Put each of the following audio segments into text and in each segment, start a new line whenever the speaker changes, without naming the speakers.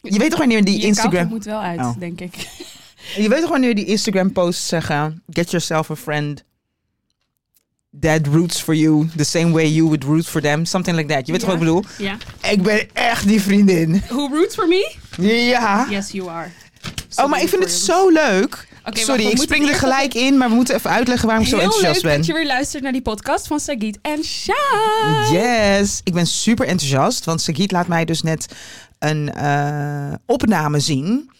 Je weet toch wanneer die
Je kachel
Instagram...
moet wel uit,
Oh.
denk ik.
Je weet toch wanneer die Instagram posts zeggen... Get yourself a friend that roots for you the same way you would root for them. Something like that. Je weet toch
Ja.
wat ik bedoel?
Ja.
Ik ben echt die vriendin.
Who roots for me?
Ja.
Yes, you are.
Oh, maar ik vind het zo leuk.
wacht, we
Sorry, ik
moeten
spring er
eerst
gelijk in, maar we moeten even uitleggen waarom ik zo
Heel
enthousiast
leuk
ben.
dat je weer luistert naar die podcast van Sagit en Shai.
Yes, ik ben super enthousiast, want Sagiet laat mij dus net een eh, opname zien.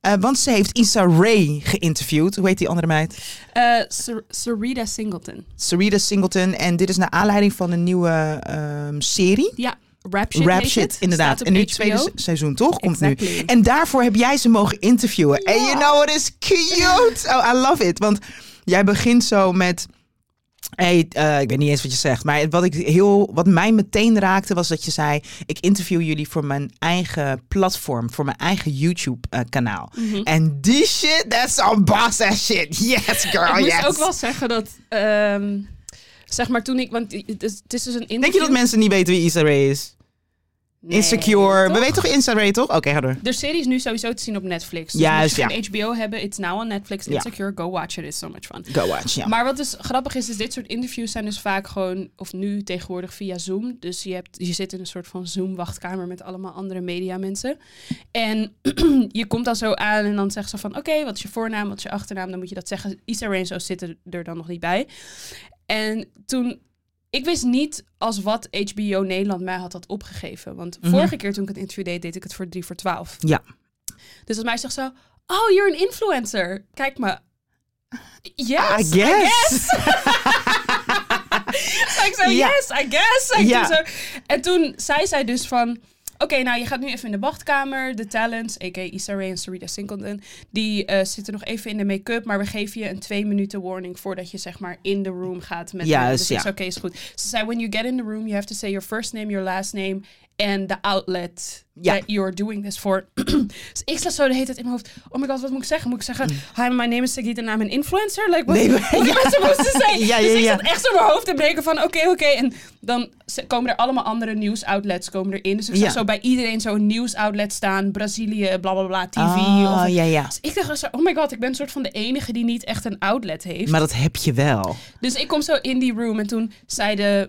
Eh, want ze heeft Issa Rae geïnterviewd. Hoe heet die andere meid?
Eh, Ser- Sarita Singleton.
Sarita Singleton. En dit is naar aanleiding van een nieuwe ehm, serie.
Ja, Rap Shit
Rap
heet
Shit,
het.
inderdaad.
Staat op
En nu dus-
HBO.
het tweede se- seizoen, toch? Komt
Exactly.
nu. En daarvoor heb jij ze mogen interviewen. En
Ja.
you know what is cute? Oh, I love it. Want jij begint zo met... Hey, eh, ik weet niet eens wat je zegt, maar wat, ik heel, wat mij meteen raakte was dat je zei... ik interview jullie voor mijn eigen platform, voor mijn eigen YouTube-kanaal.
Mhm.
En die shit, that's some boss ass shit. Yes, girl,
ik moest
Oh, yes.
ook wel zeggen dat... ehm, zeg maar toen ik... Want het is, het is dus een interview...
Denk je dat mensen niet weten wie Issa Rae is?
Nee,
Insecure.
toch?
We weten toch Issa Rae, toch? Oké, ga door.
De serie is nu sowieso te zien op Netflix.
Juist,
als je
ja.
geen HBO hebben, it's now on Netflix.
Ja.
Insecure, go watch it, it's so much fun.
Go watch, ja.
Maar wat dus grappig is, is dit soort interviews zijn dus vaak gewoon, of nu tegenwoordig via Zoom. Dus je, hebt, je zit in een soort van Zoom-wachtkamer met allemaal andere mediamensen. En je komt dan zo aan en dan zegt ze van, oké, wat is je voornaam, wat is je achternaam? Dan moet je dat zeggen. Issa Rae en zo zitten er dan nog niet bij. En toen, ik wist niet als wat HBO Nederland mij had had opgegeven. Want
Mhm.
vorige keer toen ik het interview deed, deed ik het voor 3 voor 12.
Ja.
Dus als mij zegt zo, oh, you're an influencer. Kijk me. Yes,
I
Ah, I
guess.
guess. Zei ik zo,
Ja.
yes, I guess. Zei ik
Ja.
toen zo. En toen zei zij dus van... Oké, nou je gaat nu even in de wachtkamer. De talents, a.k.a. Issa Rae en Sarita Singleton... die eh, zitten nog even in de make-up... maar we geven je een twee minuten warning... voordat je zeg maar in de room gaat met
Juist,
hen. Dus ik
ja.
zei, oké, is goed. Ze zei, when you get in the room... you have to say your first name, your last name... and the outlet
Ja.
that you're doing this for. dus ik zat zo de hele tijd in mijn hoofd... oh my god, wat moet ik zeggen? Moet ik zeggen, hi, my name is Sagita en I'm an influencer? Like, what,
Mm. Nee,
nee,
maar-
wat
ja.
mensen moesten zijn.
Ja, ja,
dus ik
ja.
zat echt zo in mijn hoofd te breken van oké, oké. En dan ze- komen er allemaal andere nieuwsoutlets komen erin. Dus ik zag
Ja.
zo bij iedereen zo'n nieuwsoutlet staan. Brazilië, bla bla bla, TV.
Ah,
of,
ja, ja.
Dus ik dacht zo, oh my god, ik ben een soort van de enige die niet echt een outlet heeft.
Maar dat heb je wel.
Dus ik kom zo in die room en toen zei de,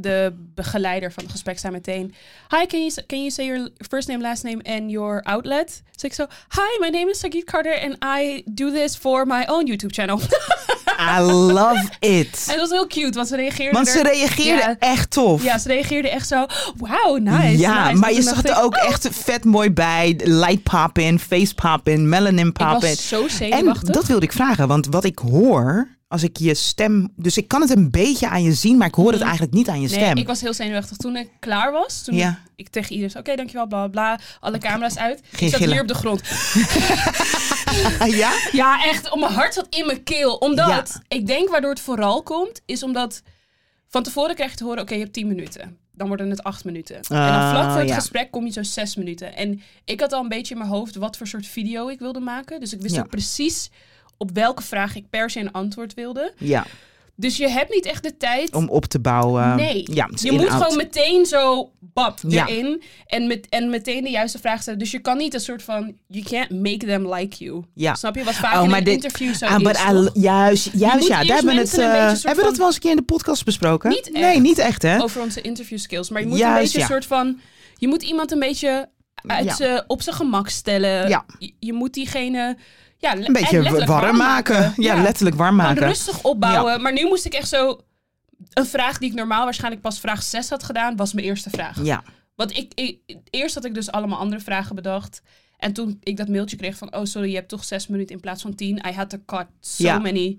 de begeleider van het gesprek zei meteen... Hi, can you, s- can you say your first name, last name and your outlet? Dus ik zo, hi, my name is Sagit Carter and I do this for my own YouTube channel.
I love it.
en dat was heel cute, want ze reageerden
Want ze
er-
reageerde
Ja.
echt tof.
Ja, ze reageerde echt zo, wauw, nice.
ja,
nice."
maar
En
je
toen
zag
dacht
er
ik,
ook echt vet mooi bij. Light pop in, face pop in, melanin
Ik
pop in.
was zo
En
zenuwachtig.
dat wilde ik vragen, want wat ik hoor als ik je stem. Dus ik kan het een beetje aan je zien, maar ik hoor het eigenlijk niet aan je
Mhm. Nee,
stem.
ik was heel zenuwachtig. Toen ik klaar was, toen
Ja.
ik tegen iedereen zei, oké, dankjewel, bla, bla, bla. Alle camera's uit.
Geen
ik zat
gillen.
hier op de grond.
Ah, ja?
Ja, echt. om Mijn hart zat in mijn keel. Omdat,
Ja.
ik denk waardoor het vooral komt, is omdat van tevoren krijg je te horen, oké, je hebt 10 minuten. Dan worden het 8 minuten. en dan vlak
Ah,
voor het
ja.
gesprek kom je zo 6 minuten. En ik had al een beetje in mijn hoofd wat voor soort video ik wilde maken. Dus ik wist
Ja.
ook precies op welke vraag ik per se een antwoord wilde.
ja,
Dus je hebt niet echt de tijd
om op te bouwen.
Nee,
Ehm, ja, dus
je moet
inhoud.
gewoon meteen zo bap
Ja.
erin en, met, en meteen de juiste vraag stellen. Dus je kan niet een soort van, you can't make them like you.
Ja.
Snap je? Wat vaak
Oh,
in
maar
een
dit-
interview zo
Ah,
is.
but I-
toch?
juist, juist
moet
ja.
eerst
Daar hebben we het.
mensen een
eh,
beetje soort
hebben we dat
van-
wel eens een keer in de podcast besproken?
Niet
Nee,
echt.
niet echt, hè?
Over onze interview skills. Maar je moet
Juist,
een beetje
ja.
een soort van, je moet iemand een beetje uit
Ja.
z'n- op zijn gemak stellen.
Ja.
Je, je moet diegene, ja, le-
Een beetje
eh, en
warm,
letterlijk warm
maken. Ja,
Ja.
letterlijk warm
Gewoon
maken.
rustig opbouwen. Maar nu moest ik echt zo, een vraag die ik normaal waarschijnlijk pas vraag 6 had gedaan, was mijn eerste vraag.
Ja.
Want ik, ik- eerst had ik dus allemaal andere vragen bedacht. En toen ik dat mailtje kreeg van, oh sorry, je hebt toch zes minuten in plaats van tien. I had to cut so
Ja.
many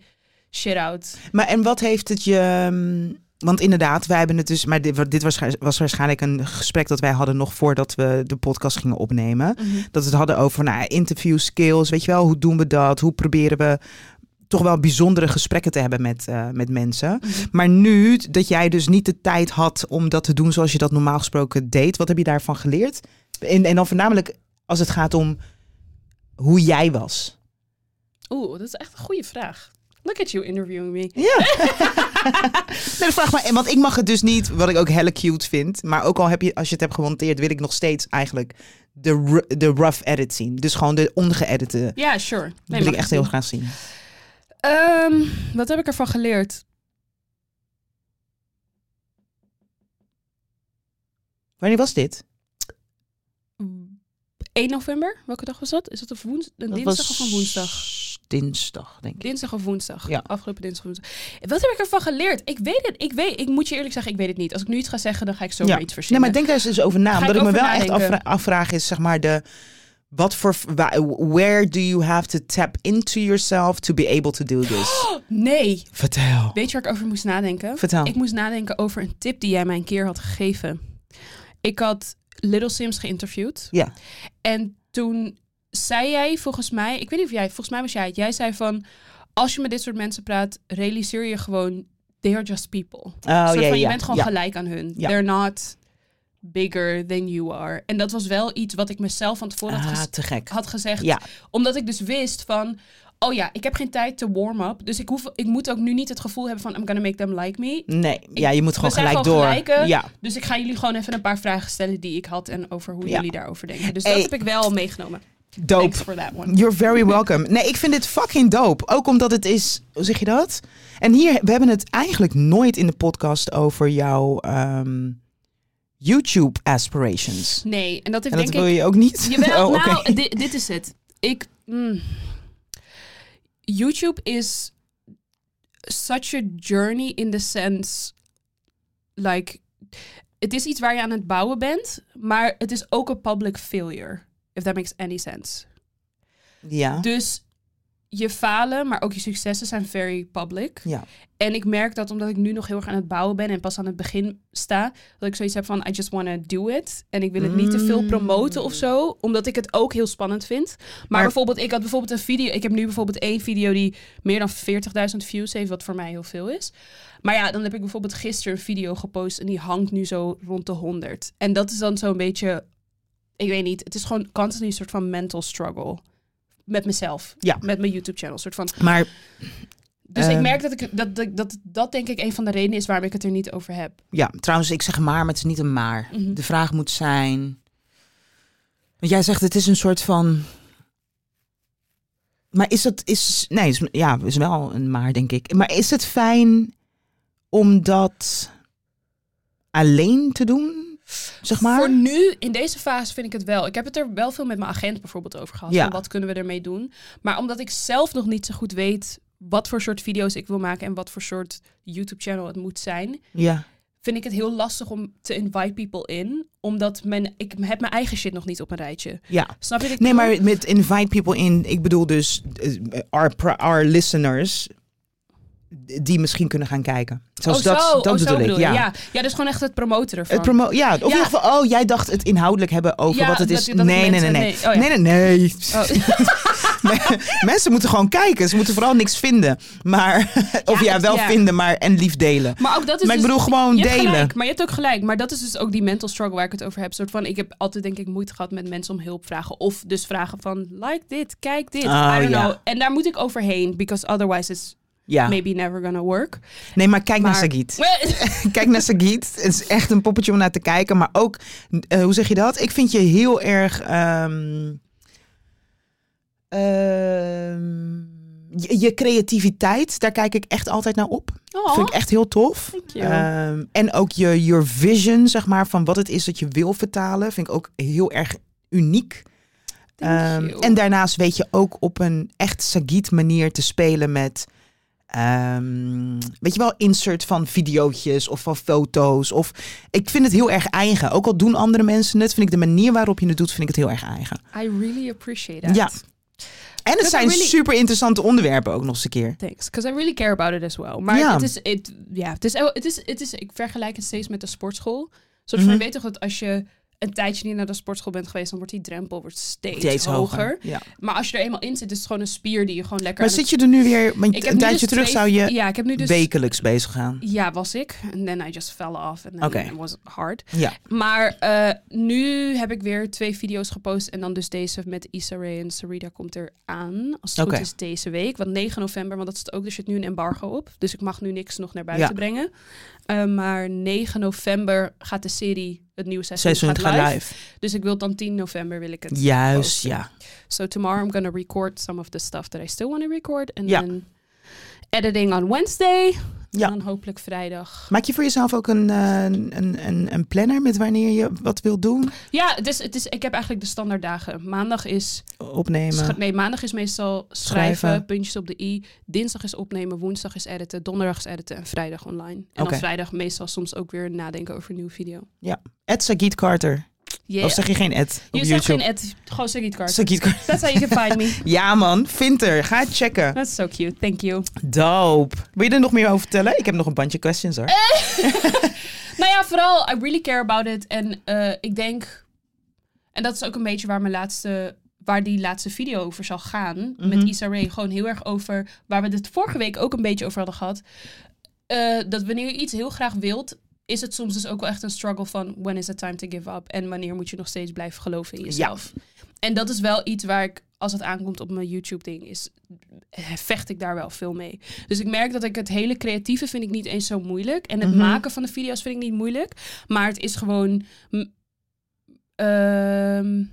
shit out.
Maar en wat heeft het je... ehm, Want inderdaad, wij hebben het dus... Maar dit, wa- dit was, waarsch- was waarschijnlijk een gesprek dat wij hadden nog voordat we de podcast gingen opnemen. Dat we het hadden over nou, interview skills. Weet je wel, hoe doen we dat? Hoe proberen we toch wel bijzondere gesprekken te hebben met, eh, met mensen.
Mhm.
Maar nu dat jij dus niet de tijd had om dat te doen zoals je dat normaal gesproken deed. Wat heb je daarvan geleerd? En, en dan voornamelijk als het gaat om hoe jij was.
Oeh, dat is echt een goede vraag. Look at you interviewing me.
Ja. nee, dan vraag maar, want ik mag het dus niet, wat ik ook helle cute vind. Maar ook al heb je, als je het hebt gemonteerd, wil ik nog steeds eigenlijk de, ru- de rough edit zien. Dus gewoon de ongeëdite.
Ja, sure. Nee,
Dat
mag
wil ik
ik
echt
doen.
heel graag zien.
Ehm, wat heb ik ervan geleerd?
Wanneer was dit?
1 november? Welke dag was dat? Is dat een, woens- een
Dat
dinsdag
was
of een woensdag?
Dinsdag, denk ik.
Dinsdag of woensdag.
Ja.
Afgelopen dinsdag of woensdag. Wat heb ik ervan geleerd? Ik weet het. Ik, weet, ik moet je eerlijk zeggen, ik weet het niet. Als ik nu iets ga zeggen, dan ga ik zo
Ja.
maar iets
Nee,
verzinnen.
maar denk daar eens eens over na.
Ga
Omdat ik
ik
me
over
wel echt
nadenken.
afvra- afvraag is, zeg maar, de... Wat voor... wa- Where do you have to tap into yourself to be able to do this?
nee.
Vertel.
Weet je waar ik over moest nadenken?
Vertel. Oh,
Ik moest nadenken over een tip die jij mij een keer had gegeven. Ik had Little Sims geïnterviewd.
Ja.
En toen zei jij volgens mij, ik weet niet of jij, volgens mij was jij het. Jij zei van, als je met dit soort mensen praat, realiseer je gewoon, they are just people.
Oh,
soort
ja,
van, je
ja,
bent gewoon
ja.
gelijk aan hun.
Ja.
They're not bigger than you are. En dat was wel iets wat ik mezelf van tevoren had,
Ah,
gez-
te gek.
had gezegd.
Ja.
Omdat ik dus wist van... Oh ja, ik heb geen tijd te warm-up. Dus ik, hoef, ik moet ook nu niet het gevoel hebben van... I'm gonna make them like me.
Nee, ja, je moet gewoon
zijn
gelijk
gewoon
door.
gelijken.
Ja.
Dus ik ga jullie gewoon even een paar vragen stellen die ik had... en over hoe
Ja.
jullie daarover denken. Dus
Hey.
dat heb ik wel meegenomen.
Dope.
Thanks for that one.
You're very welcome. Nee, ik vind dit fucking dope. Ook omdat het is, hoe zeg je dat? En hier, we hebben het eigenlijk nooit in de podcast over jouw ehm, YouTube aspirations.
Nee, en dat heeft
En dat
denk
wil
ik...
je ook niet?
Jawel,
Oh, oké.
nou, di- dit is het. Ik... mm. YouTube is such a journey in the sense... Like, het is iets waar je aan het bouwen bent... maar het is ook een public failure. If that makes any sense.
Oh. Ja.
Dus je falen, maar ook je successen zijn very public.
Ja.
En ik merk dat omdat ik nu nog heel erg aan het bouwen ben en pas aan het begin sta, dat ik zoiets heb van I just wanna do it. En ik wil het niet te veel promoten of zo, omdat ik het ook heel spannend vind. Maar,
Maar-
bijvoorbeeld, ik had bijvoorbeeld een video, ik heb nu bijvoorbeeld één video die meer dan 40.000 views heeft, wat voor mij heel veel is. Maar ja, dan heb ik bijvoorbeeld gisteren een video gepost en die hangt nu zo rond de 100. En dat is dan zo'n beetje, ik weet niet, het is gewoon continu een soort van mental struggle. Met mezelf.
Ja.
Met mijn YouTube channel. Soort van,
Maar
dus ik
Ehm.
merk dat, ik, dat, dat, dat dat denk ik een van de redenen is waarom ik het er niet over heb.
ja, trouwens, ik zeg maar, maar het is niet een maar.
Mhm.
De vraag moet zijn... Want jij zegt, het is een soort van... Maar is dat... Is, nee, is, ja, is wel een maar, denk ik. Maar is het fijn om dat alleen te doen? Zeg maar?
Voor nu, in deze fase, vind ik het wel. Ik heb het er wel veel met mijn agent bijvoorbeeld over gehad.
Ja.
Van wat kunnen we ermee doen? Maar omdat ik zelf nog niet zo goed weet wat voor soort video's ik wil maken en wat voor soort YouTube-channel het moet zijn,
Ja.
vind ik het heel lastig om te invite people in. Omdat mijn, ik heb mijn eigen shit nog niet op een rijtje.
ja.
Snap je? wat ik
Nee,
bedoel?
maar met invite people in... Ik bedoel dus eh, our, pri- our listeners... Die misschien kunnen gaan kijken. Zoals
oh,
dat,
zo,
dat
oh, zo
bedoel ik.
bedoel je.
ja.
ja. Ja, dus gewoon echt het promoten ervan.
Het promo ja, of in
Ja.
ieder geval, oh, jij dacht het inhoudelijk hebben over
Ja,
wat het
dat-
is.
dat
nee,
mensen-
nee, nee, nee.
nee.
Nee,
Oh, ja.
nee, nee.
Oh.
Mensen moeten gewoon kijken. Ze moeten vooral niks vinden. Maar, of
Ja,
ja,
het-
wel
ja.
vinden, maar en lief delen.
Maar ook dat is
Maar ik
dus-
bedoel, gewoon
je hebt
delen.
gelijk, maar je hebt ook gelijk. Maar dat is dus ook die mental struggle waar ik het over heb. Soort van, ik heb altijd denk ik moeite gehad met mensen om hulp vragen. Of dus vragen van, like dit, kijk dit,
Oh,
I don't
ja.
know. En daar moet ik overheen, because otherwise it's
Ja.
maybe never gonna work.
Nee, maar kijk naar
Maar-
Sagit. Kijk naar Sagit. Het is echt een poppetje om naar te kijken. Maar ook, eh, hoe zeg je dat? Ik vind je heel erg. ehm, ehm, je, je creativiteit, daar kijk ik echt altijd naar op.
Oh,
Vind ik echt heel tof.
Thank you.
Ehm, en ook je your vision, zeg maar, van wat het is dat je wil vertalen, vind ik ook heel erg uniek.
thank
Ehm,
you.
en daarnaast weet je ook op een echt Sagit manier te spelen met, ehm, weet je wel, insert van videootjes of van foto's. Of ik vind het heel erg eigen. Ook al doen andere mensen het, vind ik de manier waarop je het doet, vind ik het heel erg eigen.
I really appreciate that.
Ja. En het
is
zijn
really-
super interessante onderwerpen ook nog eens een keer.
Thanks, because I really care about it as well. Maar
Ja.
het, is, oh, het, ja, het, is, het, is, het is, ik vergelijk het steeds met de sportschool. Soort van,
Mhm.
je weet toch dat als je een tijdje niet naar de sportschool bent geweest, dan wordt die drempel wordt steeds,
Steeds
hoger.
hoger. Ja.
Maar als je er eenmaal in zit, is het gewoon een spier die je gewoon lekker.
Maar
aan
zit je er nu weer, want
het- Ik heb
een
nu
tijdje
dus
terug
twee-
zou je
Ja, ik heb nu dus.
wekelijks bezig gaan.
Ja, was ik. En then I just fell off. En
Oké.
then it was hard.
Ja.
Maar eh, nu heb ik weer twee video's gepost. En dan dus deze met Issa Rae en Sarita komt er aan. Als het
Oké.
goed is deze week. Want 9 november, want dat is het ook. Er zit nu een embargo op. Dus ik mag nu niks nog naar buiten
Ja.
brengen. Eh, maar 9 november gaat de serie, het nieuwe seizoen,
Seizoen het
gaat
gaat
live.
live.
Dus ik wil dan 10 november wil ik het.
Juist,
posten.
ja.
So tomorrow I'm going to record some of the stuff that I still want to record. And
Ja.
then editing on Wednesday.
Ja.
En dan hopelijk vrijdag.
Maak je voor jezelf ook een, eh, een, een, een planner met wanneer je wat wilt doen?
Ja, het is, het is, ik heb eigenlijk de standaard dagen. Maandag is, scha-
Opnemen.
nee, maandag is meestal schrijven,
Schrijven.
puntjes op de i. Dinsdag is opnemen, woensdag is editen, donderdag is editen en vrijdag online. En
Oké.
dan vrijdag meestal soms ook weer nadenken over een nieuwe video.
Ed Sagit Carter.
Yeah.
Of zeg je geen Ed op
je zegt geen
YouTube?
ad, gewoon Sagit Carter.
Sagit Carter.
That's how you can find me.
Ja man, Vinter, ga het checken.
That's so cute, thank you.
Dope. Wil je er nog meer over vertellen? Ik heb nog een bandje questions
Eh,
hoor.
Nou ja, vooral, I really care about it. En eh, ik denk, en dat is ook een beetje waar mijn laatste waar die laatste video over zal gaan met
Mhm.
Issa Rae. Gewoon heel erg over waar we het vorige week ook een beetje over hadden gehad. Eh, dat wanneer je iets heel graag wilt, is het soms dus ook wel echt een struggle van when is it time to give up en wanneer moet je nog steeds blijven geloven in jezelf. En dat is wel iets waar ik als het aankomt op mijn YouTube ding is eh, vecht ik daar wel veel mee. Dus ik merk dat ik het hele creatieve vind ik niet eens zo moeilijk en het
Mhm.
maken van de video's vind ik niet moeilijk, maar het is gewoon m- ehm,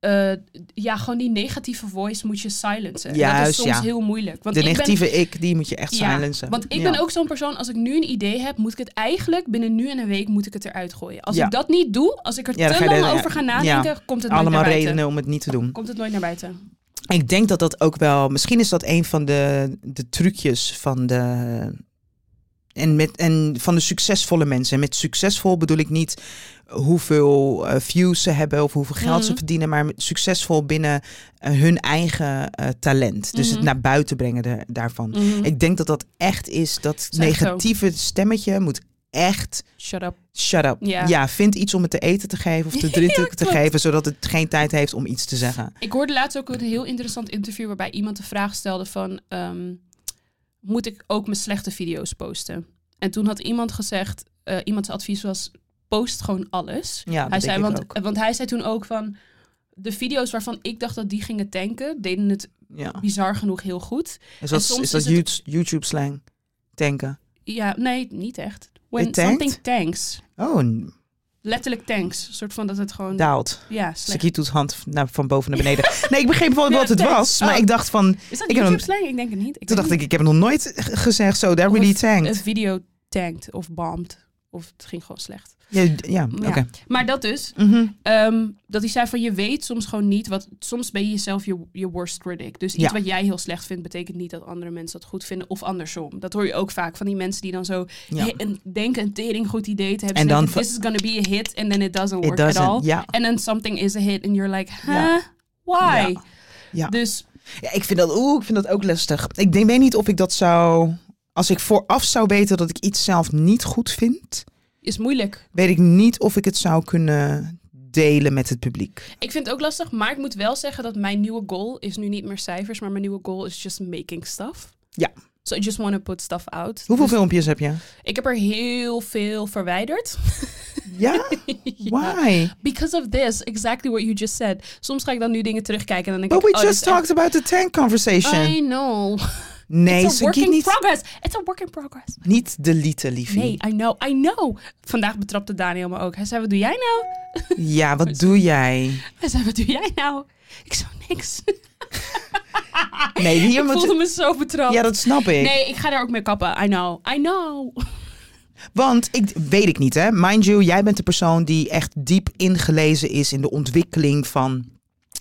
eh, ja, gewoon die negatieve voice moet je silencen. Ja, dat is
Juist,
soms
ja.
heel moeilijk. Want
de
ik ben-
negatieve ik, die moet je echt
Ja,
silencen.
want ik
Ja.
ben ook zo'n persoon, als ik nu een idee heb, moet ik het eigenlijk binnen nu en een week moet ik het eruit gooien. Als
Ja.
ik dat niet doe, als ik er
Ja, dan
te
ga je
lang
er-
over ga nadenken, komt het nooit
Allemaal
naar buiten.
redenen om het niet te doen.
Komt het nooit naar buiten.
Ik denk dat dat ook wel... Misschien is dat een van de, de trucjes van de... En, met, en van de succesvolle mensen. En met succesvol bedoel ik niet hoeveel eh, views ze hebben of hoeveel geld ze
Mhm.
verdienen, maar met- succesvol binnen eh, hun eigen eh, talent. Dus het
Mhm.
naar buiten brengen de- daarvan. Ik denk dat dat echt is. Dat
is echt zo.
negatieve stemmetje moet echt
Shut up.
shut up.
Ja.
vind iets om het te eten te geven of te drinken te
klopt.
geven, zodat het geen tijd heeft om iets te zeggen.
Ik hoorde laatst ook een heel interessant interview waarbij iemand de vraag stelde van... ehm, moet ik ook mijn slechte video's posten? En toen had iemand gezegd, eh, iemands advies was... post gewoon alles.
Ja, dat
hij
denk
zei,
ik
want,
ook.
want hij zei toen ook van... de video's waarvan ik dacht dat die gingen tanken... deden het
Ja.
bizar genoeg heel goed.
Is dat,
en soms
is dat
is het-
YouTube- YouTube slang? Tanken.
Ja, nee, niet echt. When
It tanked?
something tanks.
Oh, en
Letterlijk tanks. Een soort van dat het gewoon...
daalt.
ja, slecht.
Sakiet doet hand naar, van boven naar beneden. Nee, ik begreep wel
Ja,
wat het
thanks.
was, maar
Oh.
ik dacht van...
Is dat
Ik heb hem-
YouTube slang? Ik denk het niet.
Toen
weet
dacht ik, ik heb nog nooit g- gezegd zo, that really
Of-
tanked.
een video tankt of bombed. Of het ging gewoon slecht.
Ja, ja oké.
Ja. Maar dat dus,
Mhm.
ehm, dat hij zei van je weet soms gewoon niet wat. Soms ben je jezelf je, je worst critic. Dus iets
Ja.
wat jij heel slecht vindt, betekent niet dat andere mensen dat goed vinden. Of andersom. Dat hoor je ook vaak van die mensen die dan zo
Ja.
he- een, denken een tering goed idee te hebben.
En
En
dan
dan this is gonna be a hit and then it doesn't
It
work at all.
doesn't, ja.
And then something is a hit and you're like, huh?
Ja.
Why?
Ja. Ja.
Dus
Ja, ik vind dat, oeh, ik vind dat ook lastig. Ik denk, weet niet of ik dat zou... Als ik vooraf zou weten dat ik iets zelf niet goed vind...
is moeilijk.
weet ik niet of ik het zou kunnen delen met het publiek.
Ik vind het ook lastig, maar ik moet wel zeggen dat mijn nieuwe goal is nu niet meer cijfers, maar mijn nieuwe goal is just making stuff.
Ja.
So I just want to put stuff out.
Hoeveel
Dus
filmpjes heb je?
ik heb er heel veel verwijderd.
Ja?
Ja.
Why?
Because of this, exactly what you just said. Soms ga ik dan nu dingen terugkijken en dan denk
But we
ik... oh, dit
just
is echt-
talked about the tank conversation.
I know.
nee,
It's a
ze
work
kiet
in
niet,
progress. It's a work in progress.
niet deleten, liefie.
Nee, I know, I know. Vandaag betrapte Daniel me ook. Hij zei, wat doe jij nou?
Ja, wat doe jij?
Hij zei, wat doe jij nou? Ik zei, niks.
Nee, hier
ik
moet...
voelde me zo betrapt.
Ja, dat snap ik.
Nee, ik ga daar ook mee kappen. I know, I know.
Want ik weet ik niet, hè. Mind you, jij bent de persoon die echt diep ingelezen is in de ontwikkeling van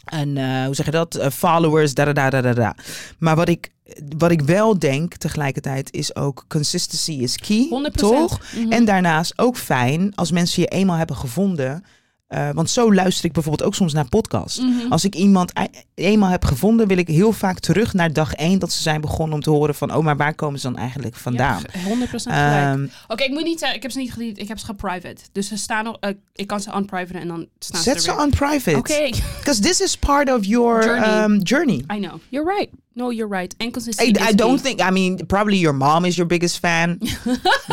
een, eh, hoe zeg je dat? Eh, followers, da da da da da, da. Maar wat ik, wat ik wel denk tegelijkertijd is ook consistency is key.
100%.
Toch?
Mhm.
En daarnaast ook fijn als mensen je eenmaal hebben gevonden. eh, Eh, want zo luister ik bijvoorbeeld ook soms naar podcasts.
Hm.
Als ik iemand e- eenmaal heb gevonden, wil ik heel vaak terug naar dag één dat ze zijn begonnen om te horen van, oh, maar waar komen ze dan eigenlijk vandaan?
Ja, 100% gelijk.
Ehm,
Oké, ik moet niet zeggen, ik heb ze niet gediend, ik heb ze geprivate. Dus ze staan nog, eh, ik kan ze unprivaten en dan staan
zet
ze
ze
er weer.
on private.
Oké,
Because this is part of your
Journey.
journey. journey.
I know. You're right. No, you're right. En consistency.
I, I
is
don't
key.
think, I mean, probably your mom is your biggest fan.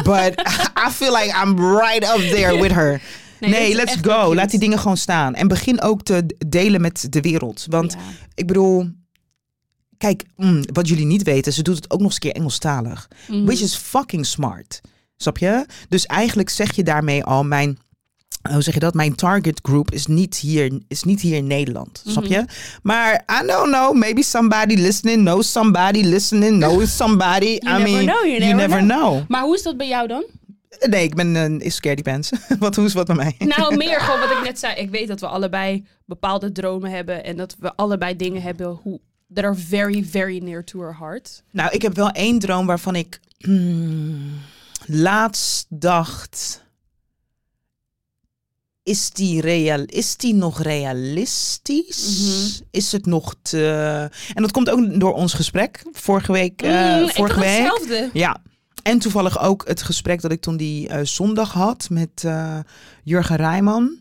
but I feel like I'm right up there with her.
Nee,
Nee,
dit is
let's
echt heel
go.
cute.
Laat die dingen gewoon staan. En begin ook te d- delen met de wereld. Want
Ja.
ik bedoel, kijk, mm, wat jullie niet weten, ze doet het ook nog eens een keer Engelstalig.
Mhm.
Which is fucking smart. Snap je? Dus eigenlijk zeg je daarmee al mijn. Hoe zeg je dat? Mijn target group is niet hier, is niet hier in Nederland. Snap
Mhm.
je? Maar I don't know. Maybe somebody listening knows somebody listening knows somebody. I
never
mean,
know, you never
know.
Maar hoe is dat bij jou dan?
Nee, ik ben een is scaredy pants. wat hoe is wat bij mij?
Nou, meer gewoon wat ik net zei. Ik weet dat we allebei bepaalde dromen hebben en dat we allebei dingen hebben hoe that are very, very near to our heart.
Nou, ik heb wel één droom waarvan ik hmm, laatst dacht. Is die, real, is die nog realistisch?
Mhm.
Is het nog te. En dat komt ook door ons gesprek vorige week. eh,
Mm, ik
vorige
dacht
week.
hetzelfde.
Ja. En toevallig ook het gesprek dat ik toen die eh, zondag had met eh, Jurgen Rijman.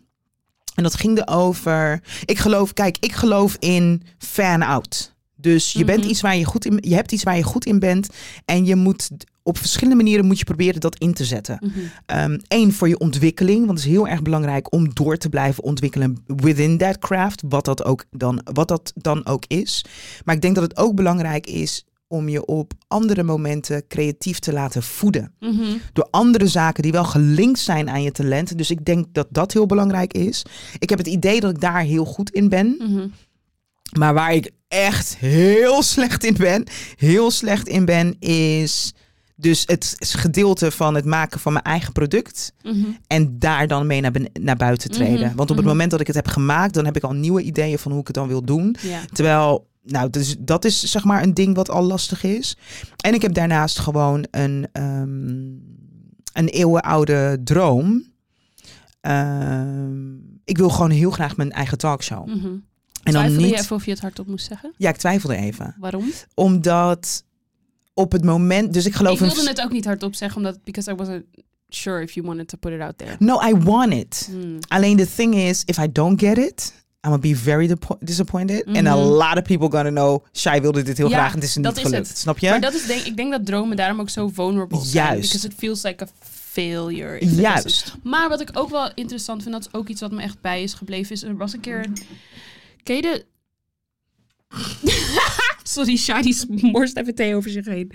En dat ging erover. Ik geloof, kijk, ik geloof in fan-out. Dus je, bent
Mhm.
iets waar je, goed in, je hebt iets waar je goed in bent. En je moet op verschillende manieren moet je proberen dat in te zetten.
Mhm.
Eén, Ehm, voor je ontwikkeling. Want het is heel erg belangrijk om door te blijven ontwikkelen within that craft. Wat dat, ook dan, wat dat dan ook is. Maar ik denk dat het ook belangrijk is om je op andere momenten creatief te laten voeden.
Mhm.
Door andere zaken die wel gelinkt zijn aan je talent. Dus ik denk dat dat heel belangrijk is. Ik heb het idee dat ik daar heel goed in ben.
Mhm.
Maar waar ik echt heel slecht in ben, heel slecht in ben, is dus het gedeelte van het maken van mijn eigen product.
Mhm.
En daar dan mee naar, ben- naar buiten treden.
Mhm,
Want op het
mhm.
moment dat ik het heb gemaakt, dan heb ik al nieuwe ideeën van hoe ik het dan wil doen.
Ja.
Terwijl, nou, dus dat is zeg maar een ding wat al lastig is. En ik heb daarnaast gewoon een, ehm, een eeuwenoude droom. Ehm, ik wil gewoon heel graag mijn eigen talkshow.
Mhm.
En dan
Twijfelde je
niet.
even of je het hardop moest zeggen?
Ja, ik twijfelde even.
Waarom?
Omdat op het moment. Dus ik geloof
Ik wilde
in.
het ook niet hardop zeggen, omdat because I wasn't sure if you wanted to put it out there.
No, I want it.
Mm.
Alleen the thing is, if I don't get it, I'm gonna be very dipo- disappointed. And a
Mhm.
lot of people gonna know, Shai wilde dit heel
Ja,
graag en het is
dat
niet
is
gelukt.
het.
Snap
Maar
je?
dat is denk, ik denk dat dromen daarom ook zo vulnerable zijn.
Juist.
Because it feels like a failure. if it doesn't-
Juist.
Maar wat ik ook wel interessant vind, dat is ook iets wat me echt bij is gebleven, is er was een keer... een- Ken je de... Sorry, Shai, die morst even thee over zich heen.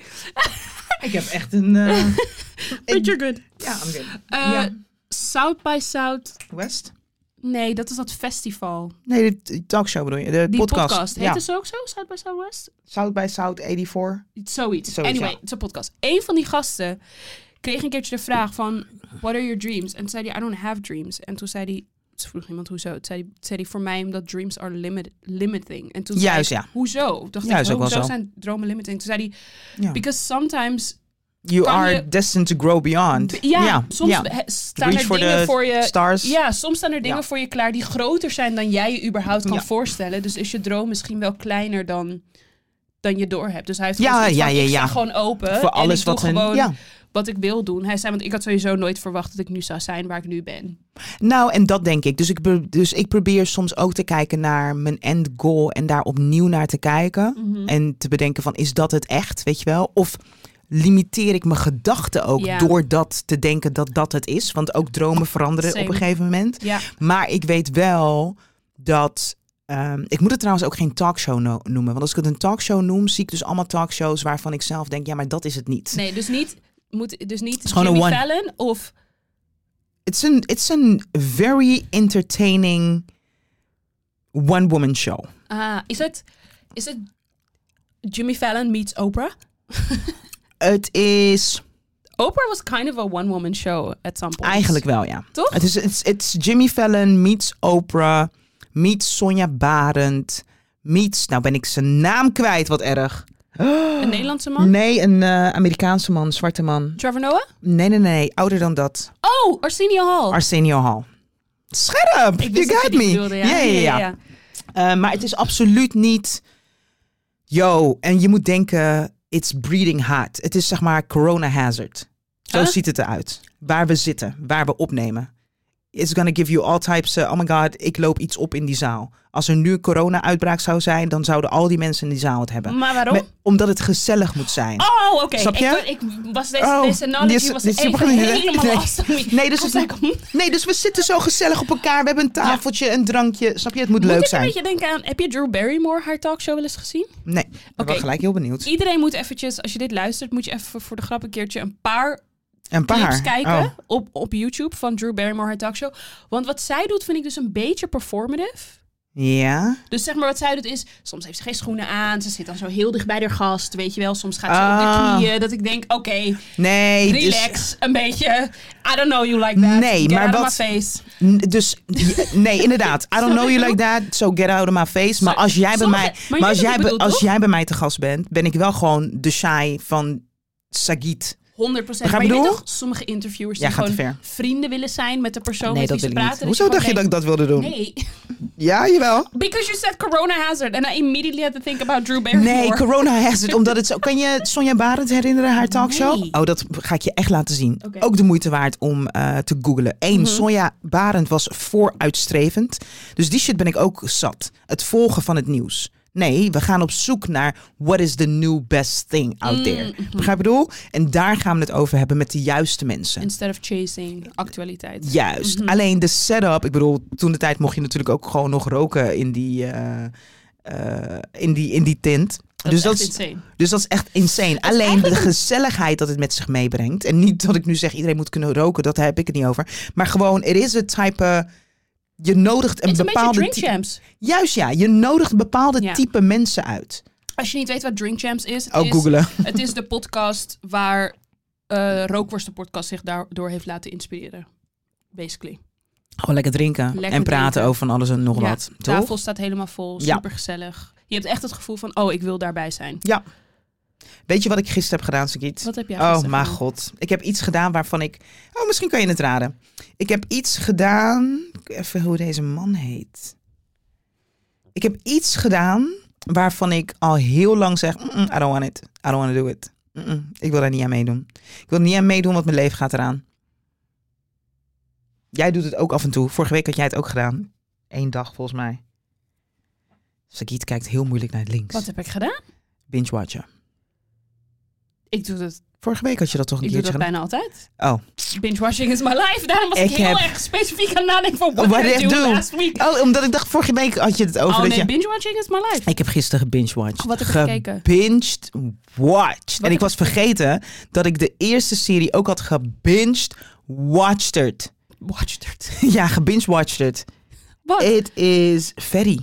Ik heb echt een... eh,
But
ik-
you're good.
ja, I'm good.
Eh,
Ja.
South by South...
West?
Nee, dat is dat festival.
Nee, de t- talkshow bedoel je. De
Die podcast.
podcast.
Heet
ja.
het zo ook zo? South by Southwest?
South by South 84.
Zoiets.
Zoiets,
anyway,
ja.
het is een podcast. Eén van die gasten kreeg een keertje de vraag van... What are your dreams? En toen zei hij, I don't have dreams. En toen zei hij... Ze vroeg iemand hoezo. Toen zei hij, zei hij voor mij omdat dreams are limit, limiting. En toen
Juist,
zei ik,
ja.
hoezo? Toen Dacht
Juist,
ik,
ook wel
hoezo
zo.
zijn dromen limiting? Toen zei hij,
Ja.
because sometimes...
You
kan
are
je-
destined to grow beyond.
Ja, soms
ja.
he- staan
Reach
er
for
dingen
the
voor je...
Stars.
Ja, soms staan er dingen
Ja.
voor je klaar die groter zijn dan jij je überhaupt kan
Ja.
voorstellen. Dus is je droom misschien wel kleiner dan, dan je doorhept. Dus hij heeft
Ja,
gewoon zoiets
ja,
van,
ja,
ik
ja.
sta gewoon open.
Voor
en
alles
ik doe
wat hun...
gewoon
Ja.
wat ik wil doen. Hij zei, want ik had sowieso nooit verwacht dat ik nu zou zijn waar ik nu ben.
Nou, en dat denk ik. Dus ik, be- dus ik probeer soms ook te kijken naar mijn end goal en daar opnieuw naar te kijken.
Mhm.
En te bedenken van, is dat het echt, weet je wel? Of limiteer ik mijn gedachten ook
Ja.
door dat te denken dat dat het is? Want ook dromen veranderen
Same.
op een gegeven moment.
Ja.
Maar ik weet wel dat. ehm, ik moet het trouwens ook geen talkshow no- noemen. Want als ik het een talkshow noem, zie ik dus allemaal talkshows waarvan ik zelf denk, ja, maar dat is het niet.
Nee, dus niet, moet, dus niet
is gewoon
Jimmy
een one.
Fallon of...
It's an, it's an very entertaining one-woman show.
ah, is het... Is het Jimmy Fallon meets Oprah?
Het is
Oprah was kind of a one-woman show at some point.
eigenlijk wel, ja.
Toch?
Het is it's, it's Jimmy Fallon meets Oprah, meets Sonja Barend, meets... Nou ben ik zijn naam kwijt, wat erg.
Een Nederlandse man?
Nee, een eh, Amerikaanse man, zwarte man.
Trevor Noah?
Nee, nee, nee, ouder dan dat.
Oh, Arsenio Hall.
Arsenio Hall. Scherp!
Ik
You
wist dat je
got
die
me.
bedoelde,
ja, ja, ja. Eh, maar het is absoluut niet. Yo, en je moet denken: it's breeding hard. Het is zeg maar corona hazard. Zo
Huh?
ziet het eruit. Waar we zitten, waar we opnemen. It's gonna give you all types. eh, oh my god, ik loop iets op in die zaal. Als er nu een corona-uitbraak zou zijn, dan zouden al die mensen in die zaal het hebben.
Maar waarom?
Met- omdat het gezellig moet zijn.
Oh, oké.
Snap je?
Ik, ik was deze,
Oh,
deze analogy
die is-
was
die is
even
helemaal niet-
helemaal
nee.
lost.
Nee, dus
Ik was
het-
like, hm, moet
Nee, dus we zitten zo gezellig op elkaar. We hebben een tafeltje, een drankje. Snap je? Het moet, leuk
ik
zijn.
een beetje denken aan... Heb je Drew Barrymore haar talkshow wel eens gezien?
Nee, ik ben wel
Oké.
gelijk heel benieuwd.
Iedereen moet eventjes, als je dit luistert, moet je even voor de grap een keertje een paar
Een paar.
clips kijken
Oh.
op, op YouTube van Drew Barrymore haar talkshow. Want wat zij doet vind ik dus een beetje performative.
Ja.
Dus zeg maar wat zij doet is, soms heeft ze geen schoenen aan, ze zit dan zo heel dicht bij haar gast, weet je wel. Soms gaat ze op
Ah.
de knieën, dat ik denk, oké,
Nee, dus-
relax, een beetje. I don't know you like that.
Nee,
Get
maar
out of
wat-
my face.
N- Dus j- nee, inderdaad. I don't know you like that, so get out of my face. Maar als jij bij
Sommige-
mij,
maar
maar als
je weet wat ik
jij, bij-
bedoel,
als
toch?
jij bij mij te gast bent, ben ik wel gewoon de shy van Sagit.
100 procent.
Begrijp
Maar
je
je
wat ik
weet
bedoel?
toch, sommige interviewers
Ja,
die
gaat te
gewoon
ver.
vrienden willen zijn met de persoon
Nee,
met
dat
wie
wil
ze
ik
praten.
niet.
dat
Hoezo
je
dacht je dat ik
gewoon
dat wilde doen?
denkt, Nee,
Ja, jawel.
because you said corona hazard and I immediately had to think about Drew Barrymore.
Nee, corona hazard, omdat het zo... Kan je Sonja Barend herinneren, haar talkshow?
Nee.
Oh, dat ga ik je echt laten zien.
Oké. Mhm.
Ook de moeite waard om eh, te googlen. Eén, Sonja Barend was vooruitstrevend. Dus die shit ben ik ook zat. Het volgen van het nieuws. Nee, we gaan op zoek naar what is the new best thing out there.
Mhm.
Begrijp je wat ik bedoel? En daar gaan we het over hebben met de juiste mensen.
Instead of chasing actualiteit.
Juist.
Mhm.
Alleen de setup, ik bedoel, toen de tijd mocht je natuurlijk ook gewoon nog roken in die, eh, eh, in die, in die tent.
Dat
dus
is
dat
echt
is
insane.
dus dat is echt insane. Alleen de gezelligheid dat het met zich meebrengt. En niet dat ik nu zeg iedereen moet kunnen roken, dat heb ik het niet over. Maar gewoon, er is het type. Je nodigt een
Het is een beetje
bepaalde.
drink
type-
champs.
Juist ja, je nodigt een bepaalde
Ja.
type mensen uit.
Als je niet weet wat drink champs is, het
Ook
is,
googelen.
het is de podcast waar eh Rookworst de podcast zich daardoor heeft laten inspireren. Basically.
Gewoon lekker drinken
Lekker
en praten
drinken.
over van alles en nog
Ja,
wat.
De
Toch?
tafel staat helemaal vol,
Ja.
supergezellig. Je hebt echt het gevoel van, oh, ik wil daarbij zijn.
Ja. Weet je wat ik gisteren heb gedaan, Sagiet?
Wat heb jij
Oh,
gisteren
mijn
gedaan?
god. Ik heb iets gedaan waarvan ik. Oh, misschien kan je het raden. Ik heb iets gedaan. Even hoe deze man heet. Ik heb iets gedaan waarvan ik al heel lang zeg: "Mm-mm, I don't want it. I don't want to do it. Mm-mm, ik wil daar niet aan meedoen. Ik wil er niet aan meedoen, want mijn leven gaat eraan. Jij doet het ook af en toe. Vorige week had jij het ook gedaan. Eén dag volgens mij. Sagiet kijkt heel moeilijk naar links.
Wat heb ik gedaan?
Binge-watchen.
Ik doe dat,
Vorige week had je dat toch een
ik doe
keertje
dat
gedaan?
bijna altijd.
Oh.
Binge-washing is my life. Daarom was ik,
Ik
heel
heb-
erg specifiek aan nadenken van, what,
What
did I
did I
do
do?
last week?
Oh, omdat ik dacht, vorige week had je het over
oh
dat
nee,
je...
binge-watching is my life.
Ik heb gisteren gebingewatched.
Oh, wat heb je gekeken?
Gebinged watched. en
heb
ik was vergeten dat ik de eerste serie ook had gebinged watched.
Watched it.
ja, gebinged watched.
Wat?
It is Ferry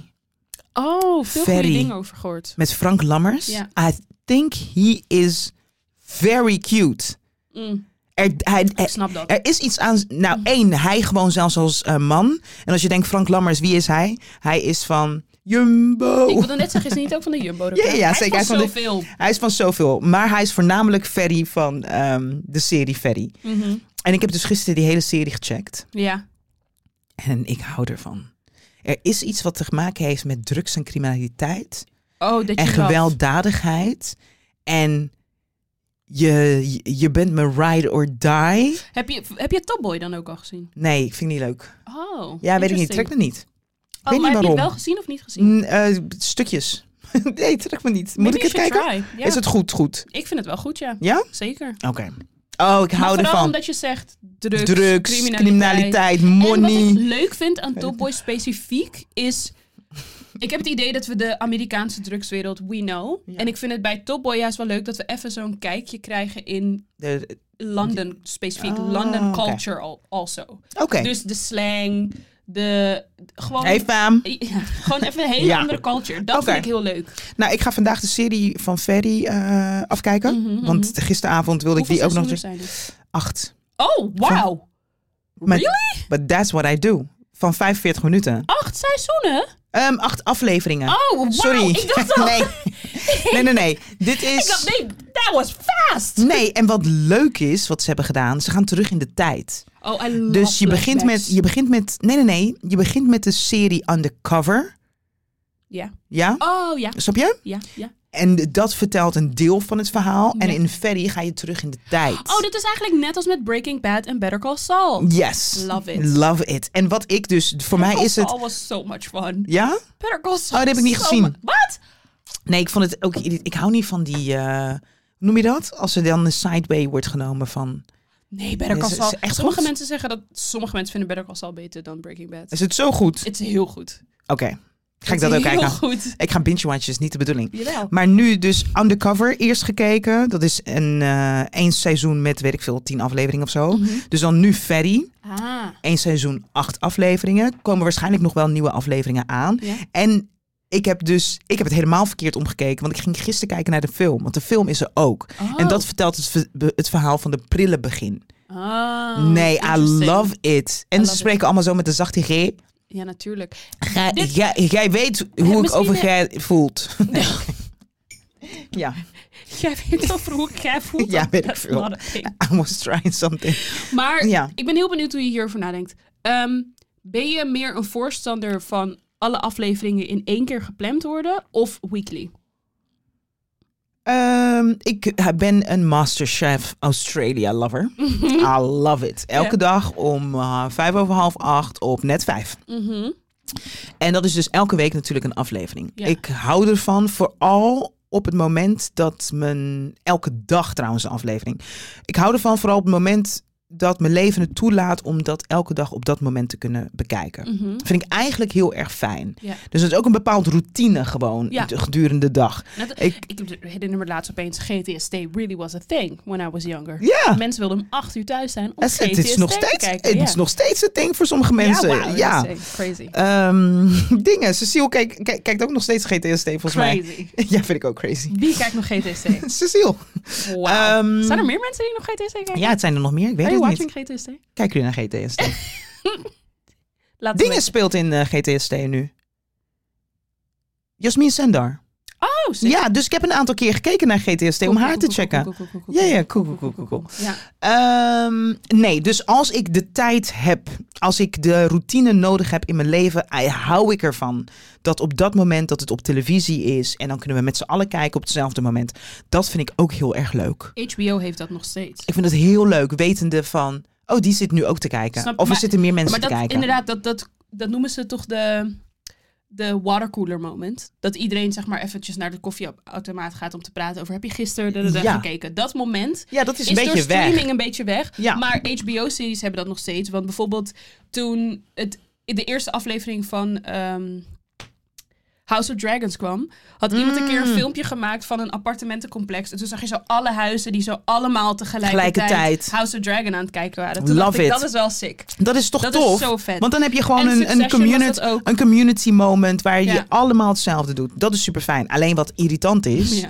Oh, veel goede
Eh, Ferry.
dingen over gehoord.
met Frank Lammers.
Ja.
I think he is very cute.
Mm,
Er, hij,
ik
er,
snap dat.
er is iets aan... Nou, één, hij gewoon zelfs als eh, man. En als je denkt, Frank Lammers, wie is hij? Hij is van Jumbo.
Ik wilde net zeggen, is hij niet ook van de Jumbo?
oh. Ja, ja, zeker.
Hij
Hij
is van
is van de-
zoveel.
Hij is van zoveel, maar hij is voornamelijk Ferry van ehm, de serie Ferry.
Mhm.
En ik heb dus gisteren die hele serie gecheckt
Ja.
en ik hou ervan. Er is iets wat te maken heeft met drugs en criminaliteit
Oh, dat
en
je wel-
gewelddadigheid. En je, je- je bent mijn ride or die.
Heb je, heb je Top Boy dan ook al gezien?
Nee, ik vind het niet leuk.
Oh,
Ja, weet ik niet. Trek
interesting.
me niet.
Oh,
weet
maar
niet
heb je het
waarom.
wel gezien of niet gezien?
Mm, eh, stukjes. nee, trek me niet. Moet
Maybe
ik het
you should
kijken?
try. Ja.
Is het goed? Goed.
Ik vind het wel goed, ja.
Ja?
Zeker.
Oké. Oh, ik
Maar
hou
vooral
ervan.
omdat je zegt drugs,
Drugs, criminaliteit,
En
money.
wat ik leuk vind aan Top Boy specifiek is... Ik heb het idee dat we de Amerikaanse drugswereld we know.
Ja.
En ik vind het bij Top Boy juist wel leuk dat we even zo'n kijkje krijgen in
De-
London specifiek.
Ah,
London
oké.
culture al- also.
Oké.
Dus de slang, de... Gewoon,
Hey fam.
Ja, gewoon even een hele
Ja.
andere culture. Dat
Oké.
vind ik heel leuk.
Nou, ik ga vandaag de serie van Ferry eh, afkijken.
Mhm,
Want
mhm.
gisteravond wilde
Hoeveel
ik die ook nog
seizoenen
eens...
zijn er?
Acht.
Oh, wauw.
Maar-
Really?
But that's what I do. Van 45 minuten.
Acht seizoenen?
Ehm, acht afleveringen.
Oh, wow.
Sorry.
Ik dacht al...
nee. nee, nee, nee. Dit
Ik dacht,
is...
nee, that was fast.
Nee, en wat leuk is, wat ze hebben gedaan, ze gaan terug in de tijd.
Oh, I love
Dus je begint,
flashbacks.
met, je begint met. Nee, nee, nee. Je begint met de serie Undercover.
Ja.
Ja?
Oh, ja,
Snap je?
ja, ja.
En dat vertelt een deel van het verhaal. En
Ja.
in Ferry ga je terug in de tijd.
Oh, dit is eigenlijk net als met Breaking Bad en Better Call Saul.
Yes.
Love it.
Love it. En wat ik dus. Voor mij is het.
Saul was so much fun.
Ja?
Better Call Saul.
Oh, dat heb ik niet
so
gezien.
mu- Wat?
Nee, ik vond het ook. Ik hou niet van die. eh, hoe noem je dat? Als er dan een sideway wordt genomen van.
Nee, Better
Is-
Call
is
Saul.
het echt
sommige
goed?
mensen zeggen dat sommige mensen vinden Better Call Saul beter dan Breaking Bad.
Is het zo goed?
Het is heel goed.
Oké. Ga ik dat ook
heel
kijken?
goed.
Ik ga binge-watchen, is niet de bedoeling.
Jawel.
Maar nu dus Undercover eerst gekeken. Dat is een eh één seizoen met, weet ik veel, tien afleveringen of zo.
Mhm.
Dus dan nu Ferry.
Ah.
Eén seizoen, acht afleveringen. Komen waarschijnlijk nog wel nieuwe afleveringen aan.
Ja.
En ik heb dus, ik heb het helemaal verkeerd omgekeken. Want ik ging gisteren kijken naar de film. Want de film is er ook. En dat vertelt het, ver- be- het verhaal van de prille begin.
Oh,
nee, I
interesting.
love it. En
I
ze
love
spreken allemaal zo met de zachte G.
Ja, natuurlijk.
Gij-
Dit-
jij- jij weet hoe ik
misschien,
over
eh,
gij voelt. ja,
Jij weet over hoe ik jij voel.
Ja, weet ik
That's
veel.
not a thing.
I was trying something.
Maar
Ja.
ik ben heel benieuwd hoe je hierover nadenkt. Ehm, ben je meer een voorstander van alle afleveringen in één keer gepland worden of weekly?
Ehm, ik ben een Masterchef Australia lover. I love it. Elke
Ja.
dag om eh, vijf over half acht op net vijf.
Mhm.
En dat is dus elke week natuurlijk een aflevering.
Ja.
Ik hou ervan vooral op het moment dat mijn... Elke dag trouwens een aflevering. Ik hou ervan vooral op het moment dat mijn leven het toelaat... om dat elke dag op dat moment te kunnen bekijken.
Mhm.
Dat vind ik eigenlijk heel erg fijn.
Ja.
Dus dat is ook een bepaald routine gewoon
Ja.
de- gedurende de dag.
Net-
Ik,
Ik herinner me laatst opeens, GTST really was a thing when I was younger.
ja,
Mensen wilden om acht uur thuis zijn om
het,
GTST
het is nog
te
steeds,
kijken.
het
Ja.
is nog steeds een ding voor sommige mensen.
Ja, wauw,
ja.
dat is echt crazy.
Ehm, dingen. Cecile kijkt- kijkt- kijkt ook nog steeds GTST volgens mij.
Crazy.
Ja, vind ik ook crazy.
Wie kijkt nog GTST?
Cecile.
Wauw.
Ehm,
Zijn er meer mensen die nog GTST kijken?
Ja, het zijn er nog meer. Ik weet
Are you
het niet.
watching GTST?
Kijken jullie naar GTST?
Laat
Dingen
het weten.
speelt in eh, GTST nu. Jasmin Sendar.
Oh, sick.
Ja, dus ik heb een aantal keer gekeken naar GTST om
Cool,
haar
cool,
te
cool,
checken.
cool, cool, cool, cool,
Ja,
cool.
ja, cool, cool, cool, cool, cool.
Ja.
Ehm, nee, dus als ik de tijd heb, als ik de routine nodig heb in mijn leven, I- hou ik ervan dat op dat moment dat het op televisie is en dan kunnen we met z'n allen kijken op hetzelfde moment. Dat vind ik ook heel erg leuk.
HBO heeft dat nog steeds.
Ik vind het heel leuk, wetende van, oh, die zit nu ook te kijken.
Snap-
of er
maar-
zitten meer mensen
Maar
te
dat,
kijken.
inderdaad, dat, dat, dat noemen ze toch de, de watercooler moment. Dat iedereen zeg maar eventjes naar de koffieautomaat gaat om te praten over heb je gisteren da, da, da,
Ja.
gekeken. Dat moment
Ja, dat is,
is,
een
door
beetje weg.
streaming een beetje weg.
Ja.
Maar HBO-series hebben dat nog steeds. Want bijvoorbeeld toen het, in de eerste aflevering van ehm, House of Dragons kwam, had iemand een keer een
Mm.
filmpje gemaakt van een appartementencomplex. En toen zag je zo alle huizen die zo allemaal tegelijkertijd
Tegelijkertijd.
House of Dragon aan het kijken waren. Toen
Love
dacht ik,
it.
dat is wel sick.
Dat is toch
Dat
tof?
is zo vet.
Want dan heb je gewoon
En
een, een,
Succession was
community,
dat ook.
een community moment waar je
Ja.
allemaal hetzelfde doet. Dat is super fijn. Alleen wat irritant is.
Ja.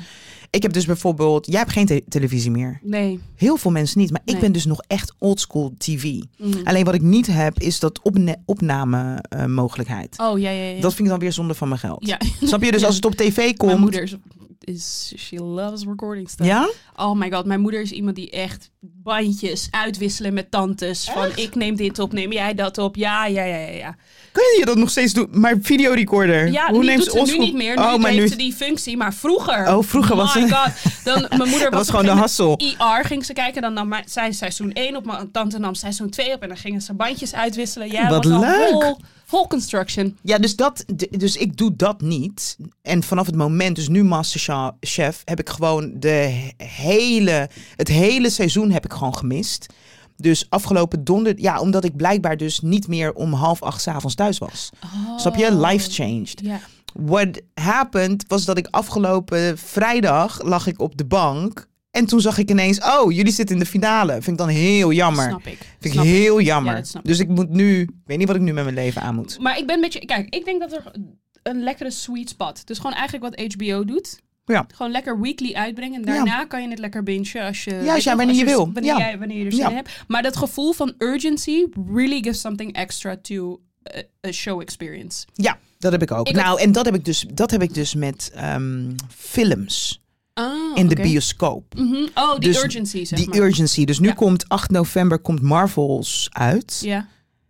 Ik heb dus bijvoorbeeld, jij hebt geen te- televisie meer.
Nee.
Heel veel mensen niet, maar ik
Nee.
ben dus nog echt oldschool TV.
Mhm.
Alleen wat ik niet heb, is dat opne- opnamemogelijkheid.
Oh, ja, ja, ja.
Dat vind ik dan weer zonde van mijn geld.
ja.
Snap je? Dus
Ja.
als het op tv
Mijn
komt.
moeder is, is... She loves recording stuff.
Ja?
Oh my god, mijn moeder is iemand die echt bandjes uitwisselen met tantes. Van ik neem dit op, neem jij dat op. Ja, ja, ja, ja. ja.
Kun je dat nog steeds doen? Maar videorecorder.
ja
Hoe
nu
neemt
doet ze nu
oldschool-
niet meer. Nu
Oh, maar
heeft
nu.
ze die functie, maar vroeger.
Oh, vroeger was
my
het-
god. Dan, mijn moeder
Dat was
was,
gewoon de hassel.
IR ging ze kijken, dan nam mijn- zij seizoen 1 op, mijn tante nam seizoen 2 op en dan gingen ze bandjes uitwisselen. Ja,
Wat
was al
leuk.
Whole, whole construction.
Ja, dus, dat, d- dus ik doe dat niet. En vanaf het moment, dus nu Masterchef, heb ik gewoon de he- hele, het hele seizoen heb ik gewoon gemist. Dus afgelopen donderdag, ja, omdat ik blijkbaar dus niet meer om half acht 's avonds thuis was.
Oh.
Snap je? Life changed.
Ja.
What happened was dat ik afgelopen vrijdag lag ik op de bank. En toen zag ik ineens, oh, jullie zitten in de finale. Vind ik dan heel jammer.
Snap ik.
Vind ik
Snap
heel jammer.
Ja, dat snap ik.
dus ik moet nu, ik weet niet wat ik nu met mijn leven aan moet.
Maar ik ben met je. Kijk, ik denk dat er een lekkere sweet spot. Dus gewoon eigenlijk wat HBO doet.
Ja.
Gewoon lekker weekly uitbrengen. En
Ja.
daarna kan je het lekker bingen als je. weet
jij
je wel,
wanneer je wil.
Wanneer,
Ja.
jij, wanneer je er zin
Ja.
in hebt. Maar dat gevoel van urgency really gives something extra to a, a show experience.
Ja, dat heb ik ook.
Ik
nou, en dat heb ik dus, dat heb ik dus met ehm, films.
Ah,
in
oké.
de bioscoop.
Mhm. Oh, die
Dus
urgency, zeg
Die
maar.
urgency. Dus nu
Ja.
komt 8 november komt Marvels uit.
ja.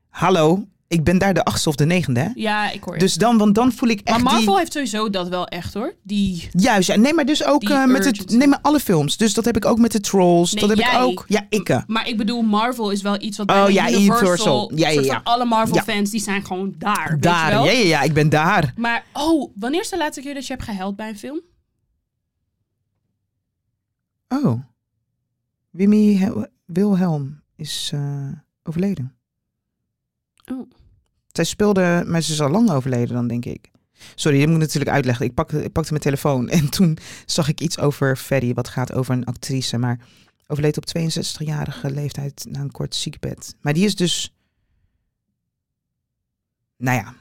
Hallo, ik ben daar de achtste of de negende. hè?
ja, ik hoor je.
Dus dan, want dan voel ik echt
maar Marvel
die...
heeft sowieso dat wel echt, hoor. Die...
Juist, ja. nee, maar dus ook
Die
eh, met het,
urgency.
nee, maar alle films. Dus dat heb ik ook met de Trolls.
Nee,
dat heb ik
jij.
ook. Ja, ikke.
Maar ik bedoel, Marvel is wel iets wat
Oh,
bijna
ja,
Universal...
Universal. Ja, ja,
soort
ja.
van alle
Ja.
Marvel-fans, die zijn gewoon daar, weet je
Daar,
wel?
ja, ja, ja, ik ben daar.
Maar, oh, wanneer is de laatste keer dat je hebt gehuild bij een film?
Oh. Wimmy Hel- Wilhelm is eh, overleden.
Oh.
Zij speelde, maar ze is al lang overleden dan, denk ik. Sorry, dit moet ik natuurlijk uitleggen. Ik pakte, ik pakte mijn telefoon en toen zag ik iets over Ferry, wat gaat over een actrice. Maar overleed op 62-jarige leeftijd na een kort ziekbed. Maar die is dus... Nou ja,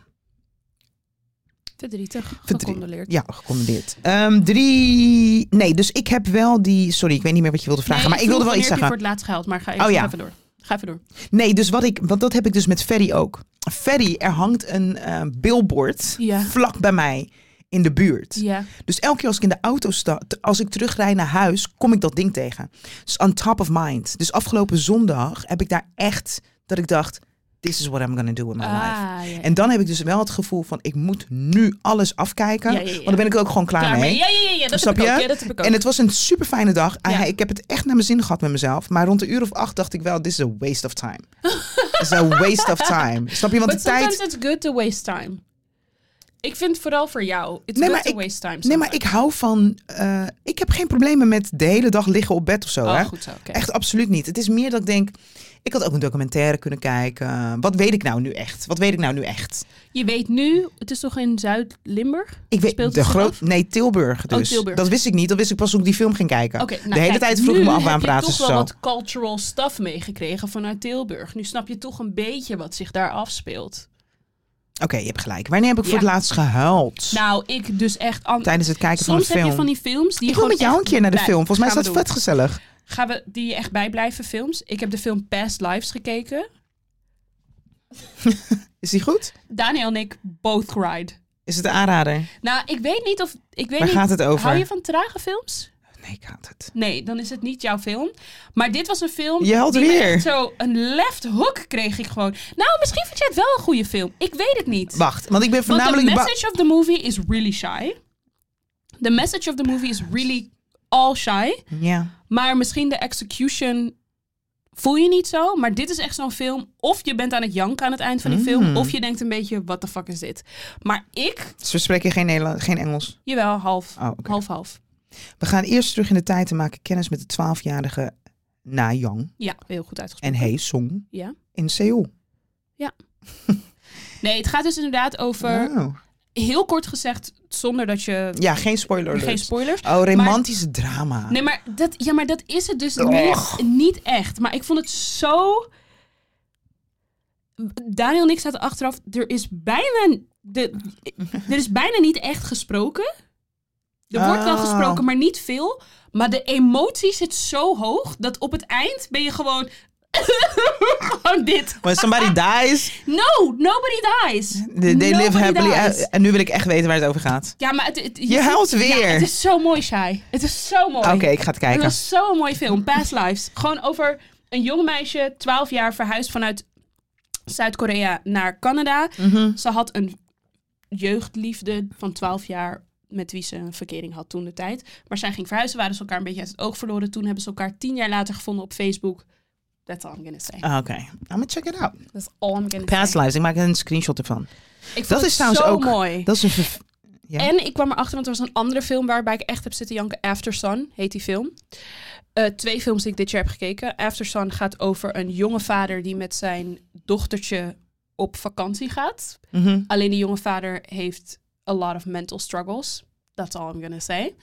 Verdrietig.
Verdriet.
Gecondoleerd.
Ja, gecondoleerd. Ehm, drie. Nee, dus ik heb wel die. Sorry, ik weet niet meer wat je wilde vragen.
Nee,
maar ik wilde
vroeg
wel iets
wanneer heb je
zeggen.
voor het laatst gehuild, maar ga even,
Oh, ja.
ga even door. Ga even door.
Nee, dus wat ik. Want dat heb ik dus met Ferry ook. Ferry, er hangt een eh, billboard
Ja.
vlak bij mij in de buurt.
Ja.
Dus elke keer als ik in de auto sta, t- als ik terugrij naar huis, kom ik dat ding tegen. Dus on top of mind. Dus afgelopen zondag heb ik daar echt dat ik dacht: this is what I'm gonna do in my life.
Ah, ja.
Nou, En dan heb ik dus wel het gevoel van ik moet nu alles afkijken.
Ja, ja, ja.
Want dan ben ik er ook gewoon klaar,
Klaar
mee.
mee. Ja, ja, ja, ja, dat
Snap
heb ik
je?
ook. Ja, dat heb ik ook.
En het was een super fijne dag. Ah,
Ja.
Ik heb het echt naar mijn zin gehad met mezelf. Maar rond een uur of acht dacht ik wel, this is a waste of time. this is a waste of time. Snap je? Want
But
de tijd...
sometimes it's good to waste time. Ik vind vooral voor jou, it's
Nee,
good
maar
to
ik-
waste time.
Nee, maar
sometimes.
ik hou van... eh, ik heb geen problemen met de hele dag liggen op bed of zo. hè?
Oh, goed zo, oké.
Echt absoluut niet. Het is meer dat ik denk, ik had ook een documentaire kunnen kijken. Wat weet ik nou nu echt? Wat weet ik nou nu echt?
Je weet nu, het is toch in Zuid-Limburg?
Ik weet
Speelt het
de
zich
groot.
af?
Nee, Tilburg dus.
Oh, Tilburg.
Dat wist ik niet. Dat wist ik pas toen ik die film ging kijken.
Oké, nou,
de hele
kijk,
tijd vroeg ik
nu
me af waarom
heb je
praten
toch
ze
wel
zo.
wat cultural stuff meegekregen vanuit Tilburg. Nu snap je toch een beetje wat zich daar afspeelt.
Oké, je hebt gelijk. Wanneer heb ik voor
Ja.
het laatst gehuild?
Nou, ik dus echt... an-
Tijdens het kijken van een
Soms heb
film.
je van die films die
ik wil
gewoon
met jou
echt
een keer naar de
bij-
film. Volgens mij is
gaan
dat
we doen.
vet gezellig.
Gaan we die je echt bijblijven films? Ik heb de film Past Lives gekeken.
Is die goed?
Daniel en ik both cried.
Is het een aanrader?
Nou, ik weet niet of... Ik weet
Waar
niet,
gaat het over?
Hou je van trage films?
Nee, ik haat het.
Nee, dan is het niet jouw film. Maar dit was een film...
Je helpt
die me
weer.
echt Zo een left hook kreeg ik gewoon. Nou, misschien vind jij het wel een goede film. Ik weet het niet.
Wacht, want ik ben
Want
voornamelijk...
the
ba-
message of the movie is really shy. The message of the movie is really all shy.
Ja.
Maar misschien de execution voel je niet zo. Maar dit is echt zo'n film. Of je bent aan het janken aan het eind van die
Mm.
film. Of je denkt een beetje, what the fuck is dit? Maar ik,
Dus we spreken geen, Nederland, geen Engels.
jawel, half.
Oh, oké.
Half, half.
We gaan eerst terug in de tijd en maken kennis met de 12-jarige Na Yang
Ja, heel goed uitgesproken.
en Hei Song
Ja.
in Seoul.
Nee, het gaat dus inderdaad over,
Wow.
heel kort gezegd, zonder dat je...
Oh. Ja, geen spoiler alert.
Geen spoilers.
Oh, romantische drama.
Nee, maar dat, ja, maar dat is het dus
Och.
niet, niet echt. Maar ik vond het zo... Daniel en ik zaten achteraf. Er is bijna, de, er is bijna niet echt gesproken. Er wordt wel
Ah.
gesproken, maar niet veel. Maar de emotie zit zo hoog dat op het eind ben je gewoon... gewoon dit.
When somebody dies,
No, nobody dies.
they, they live
Nobody
happily.
dies.
En nu wil ik echt weten waar het over gaat.
Ja, maar het, het-
Je huilt
ja,
weer.
het is zo mooi, Shai. Het is zo mooi.
Oké, ik ga het kijken.
Het was zo'n mooie film, Past Lives. Gewoon over een jong meisje, 12 jaar, verhuisd vanuit Zuid-Korea naar Canada.
Mhm.
Ze had een jeugdliefde van 12 jaar met wie ze een verkering had toen de tijd. Maar zij ging verhuizen, waren ze elkaar een beetje uit het oog verloren. Toen hebben ze elkaar tien jaar later gevonden op Facebook. That's all I'm gonna say.
Oké, I'm gonna check it out.
That's all I'm gonna
Past
say.
lives, ik maak een screenshot ervan.
Ik vond
Dat
het
is trouwens
zo
ook.
mooi.
Dat is een verf- Ja.
En ik kwam erachter, want er was een andere film waarbij ik echt heb zitten janken. After Sun heet die film. Eh, twee films die ik dit jaar heb gekeken. After Sun gaat over een jonge vader die met zijn dochtertje op vakantie gaat.
Mhm.
Alleen die jonge vader heeft a lot of mental struggles. That's all I'm gonna say.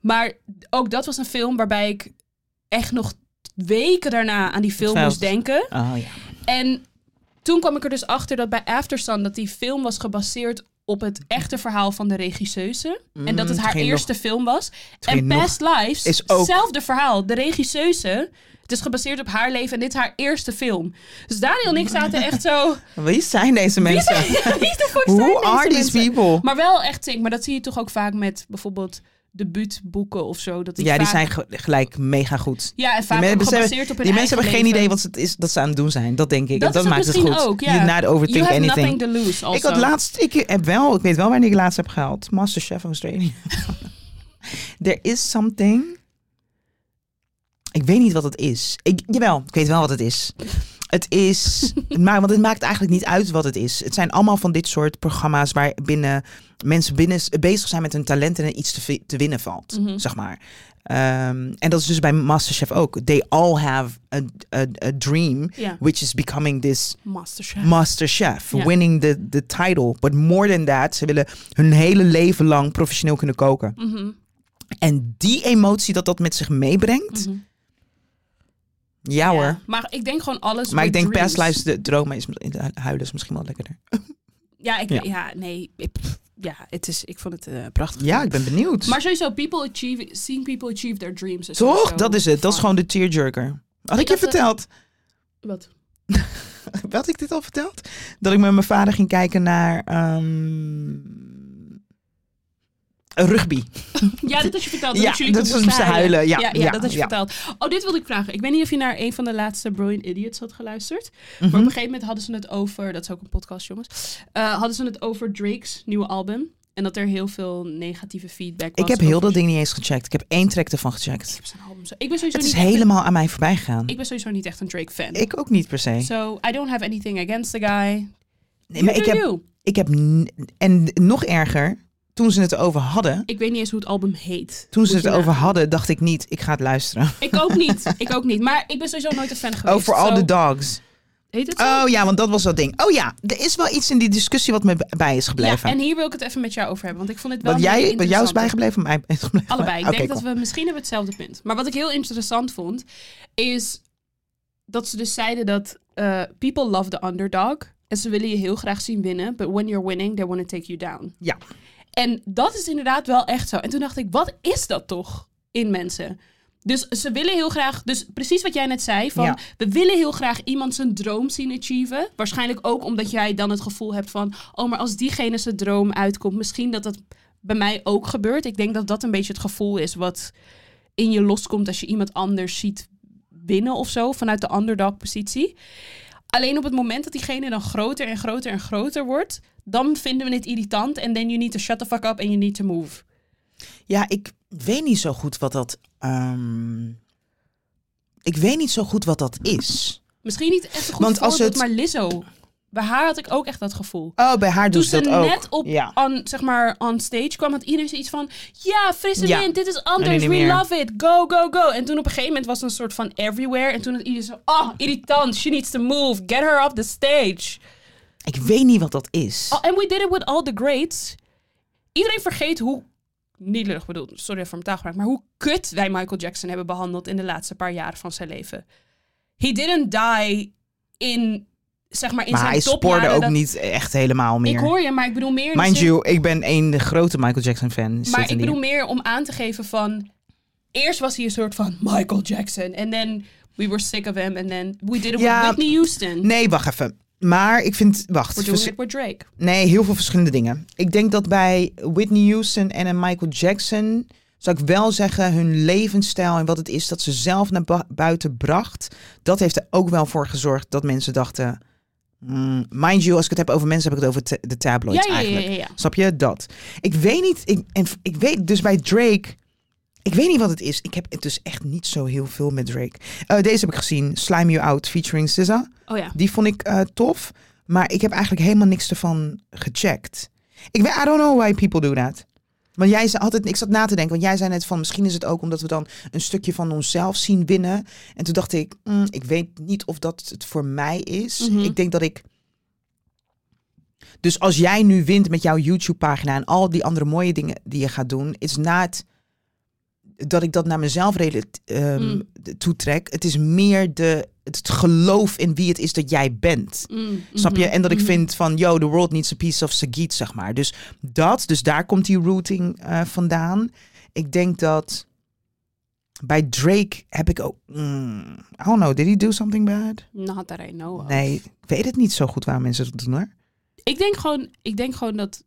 Maar ook dat was een film waarbij ik echt nog weken daarna aan die film
Hetzelfde.
moest denken.
Oh ja.
En toen kwam ik er dus achter dat bij Aftersun dat die film was gebaseerd op het echte verhaal van de regisseuse. en dat het
het
haar
ging
eerste film was. En
ging nog-
Past Lives,
is ook-
hetzelfde verhaal. De regisseuse, het is gebaseerd op haar leven en dit is haar eerste film. Dus Daniel en ik zaten echt zo...
Wie zijn deze
Wie
mensen?
zijn- wie de fuck zijn
Who
deze
are these
mensen?
people?
Maar wel echt sick. Maar dat zie je toch ook vaak met bijvoorbeeld debuutboeken of zo. Dat
ja, die
vaak-
zijn ge- gelijk mega goed.
Ja, en vaak
men-
ook
ze hebben-
gebaseerd op hun
Die mensen hebben
eigen
geen idee
leven.
wat ze, het is, dat ze aan het doen zijn. Dat denk ik.
Dat
en dat
is het
maakt het
misschien
goed.
ook, ja.
You not
You
overthink
have
anything.
nothing to lose also.
Ik had laatst, ik heb wel, ik weet wel wanneer ik laatst heb gehaald. Masterchef Australia. There is something. Ik weet niet wat het is. Ik, jawel, ik weet wel wat het is. Het is, het maakt, want het maakt eigenlijk niet uit wat het is. Het zijn allemaal van dit soort programma's waarbinnen mensen binnen, bezig zijn met hun talenten en iets te, vi- te winnen valt,
Mhm.
zeg maar. Ehm, en dat is dus bij Masterchef ook. They all have a, a, a dream,
Ja,
which is becoming this
Masterchef.
Master Chef,
Ja.
winning the, the title. But more than that, ze willen hun hele leven lang professioneel kunnen koken.
Mhm,
En die emotie dat dat met zich meebrengt,
mhm.
ja hoor.
Mm. Ja, Maar ik denk gewoon alles.
Maar ik
with
denk
dreams.
pestlijst de dromen is de huilen is misschien wel lekkerder.
Ja, ik,
Ja.
ja. nee. Ik, ja, het is, ik vond het eh, prachtig.
Ja, ik ben benieuwd.
Maar sowieso, people achieve, seeing people achieve their dreams. Is
Toch?
sowieso
Dat is het. Dat is
fun.
gewoon de tearjerker. Had ik,
Ik
je
had, eh,
verteld,
Wat?
had ik dit al verteld? Dat ik met mijn vader ging kijken naar ehm, rugby.
Ja, dat had je verteld.
Ja,
Oh, dat jullie
dat
toen
is om
moesten
te huilen. Ja,
ja,
ja,
dat had je
ja.
verteld. Oh, dit wilde ik vragen. Ik weet niet of je naar een van de laatste Brilliant Idiots had geluisterd.
Mhm.
Maar op een gegeven moment hadden ze het over, dat is ook een podcast jongens, Eh, hadden ze het over Drake's nieuwe album. En dat er heel veel negatieve feedback was.
Ik heb heel
over-
dat ding niet eens gecheckt. Ik heb één track ervan
Ik
gecheckt.
heb zijn album zo- Ik ben sowieso
Het is
niet echt een-
helemaal aan mij voorbij gegaan.
Ik ben sowieso niet echt een Drake fan.
Ik ook niet per se.
So I don't have anything against the guy.
Nee, maar
You
ik
do
heb,
you.
ik heb. n- En nog erger, toen ze het over hadden.
Ik weet niet eens hoe het album heet.
Toen ze
Moet
het
je
over
nagaan. Oh,
hadden, dacht ik niet, ik ga het luisteren.
Ik ook niet. Ik ook niet. Maar ik ben sowieso nooit een fan geweest.
Oh, for all
So,
the dogs.
Heet het zo?
Oh ja, want dat was dat ding. Oh ja, er is wel iets in die discussie wat me b- bij is gebleven.
Ja, en hier wil ik het even met jou over hebben. Want ik vond het wel
wat,
een
jij,
hele
wat jou is
interessante-
bijgebleven, mij is gebleven.
Allebei. Ik
Oké,
denk
cool.
dat we misschien hebben hetzelfde punt. Maar wat ik heel interessant vond, is dat ze dus zeiden dat eh, people love the underdog. En ze willen je heel graag zien winnen. But when you're winning, they want to take you down.
Ja.
En dat is inderdaad wel echt zo. En toen dacht ik, wat is dat toch in mensen? Dus ze willen heel graag, dus precies wat jij net zei, van
Ja.
we willen heel graag iemand zijn droom zien achieven. Waarschijnlijk ook omdat jij dan het gevoel hebt van, oh maar als diegene zijn droom uitkomt, misschien dat dat bij mij ook gebeurt. Ik denk dat dat een beetje het gevoel is wat in je loskomt als je iemand anders ziet winnen of zo, vanuit de underdog positie. Alleen op het moment dat diegene dan groter en groter en groter wordt, dan vinden we het irritant en then you need to shut the fuck up and you need to move.
Ja, ik weet niet zo goed wat dat. ehm, ik weet niet zo goed wat dat is.
Misschien niet echt een goed
Want als
voorbeeld,
het-
maar Lizzo. Bij haar had ik ook echt dat gevoel.
Oh, bij haar
Toen
doet ze
ze
dat ook.
net op
Ja.
on, zeg maar, on stage kwam, had iedereen zoiets van... Ja, frisse
Ja.
wind, dit is
En
anders,
nu
we
niet meer.
love it, go, go, go. En toen op een gegeven moment was het een soort van everywhere. En toen had iedereen zo... Oh, irritant, she needs to move, get her off the stage.
Ik weet niet wat dat is.
Oh, and we did it with all the greats. Iedereen vergeet hoe... Niet lullig bedoeld, sorry voor mijn taalgebruik... maar hoe kut wij Michael Jackson hebben behandeld... in de laatste paar jaren van zijn leven. He didn't die in... Zeg maar, in
maar
zijn
hij spoorde
topjaren
ook
dat-
niet echt helemaal meer.
Ik hoor je, maar ik bedoel meer... in de
Mind
zin-
you, ik ben een grote Michael Jackson fan. zit
Maar
in
ik
die-
bedoel meer om aan te geven van... Eerst was hij een soort van Michael Jackson. En then we were sick of him. And then we did it
Ja.
with Whitney Houston.
Nee, wacht even. Maar ik vind, wacht,
We're doing
vers-
it with Drake.
nee, heel veel verschillende dingen. Ik denk dat bij Whitney Houston en een Michael Jackson, zou ik wel zeggen, hun levensstijl en wat het is dat ze zelf naar bu- buiten bracht, dat heeft er ook wel voor gezorgd dat mensen dachten, mm, mind you, als ik het heb over mensen, heb ik het over te- de tabloids
ja, ja, ja,
eigenlijk.
ja, ja.
Snap je dat? Ik weet niet, ik, en f- ik weet dus bij Drake, ik weet niet wat het is. Ik heb het dus echt niet zo heel veel met Drake. Eh, deze heb ik gezien, Slime You Out featuring SZA.
Oh ja.
Die vond ik eh, tof. Maar ik heb eigenlijk helemaal niks ervan gecheckt. Ik weet, I don't know why people do that. Want jij zei altijd, ik zat na te denken, want jij zei net van misschien is het ook omdat we dan een stukje van onszelf zien winnen. En toen dacht ik, mm, ik weet niet of dat het voor mij is.
Mhm.
Ik denk dat ik. Dus als jij nu wint met jouw YouTube-pagina en al die andere mooie dingen die je gaat doen, is na het dat ik dat naar mezelf relat- ehm,
Mm.
de- toetrek. Het is meer de, het geloof in wie het is dat jij bent.
Mm,
Snap je?
mhm,
En dat ik
mhm.
vind van, yo, the world needs a piece of Sagitt, zeg maar. Dus dat, dus daar komt die routing eh, vandaan. Ik denk dat bij Drake heb ik ook, mm, I don't know, did he do something bad?
Not that I know of.
Nee, ik weet het niet zo goed waarom mensen dat doen hoor.
Ik denk gewoon, ik denk gewoon dat...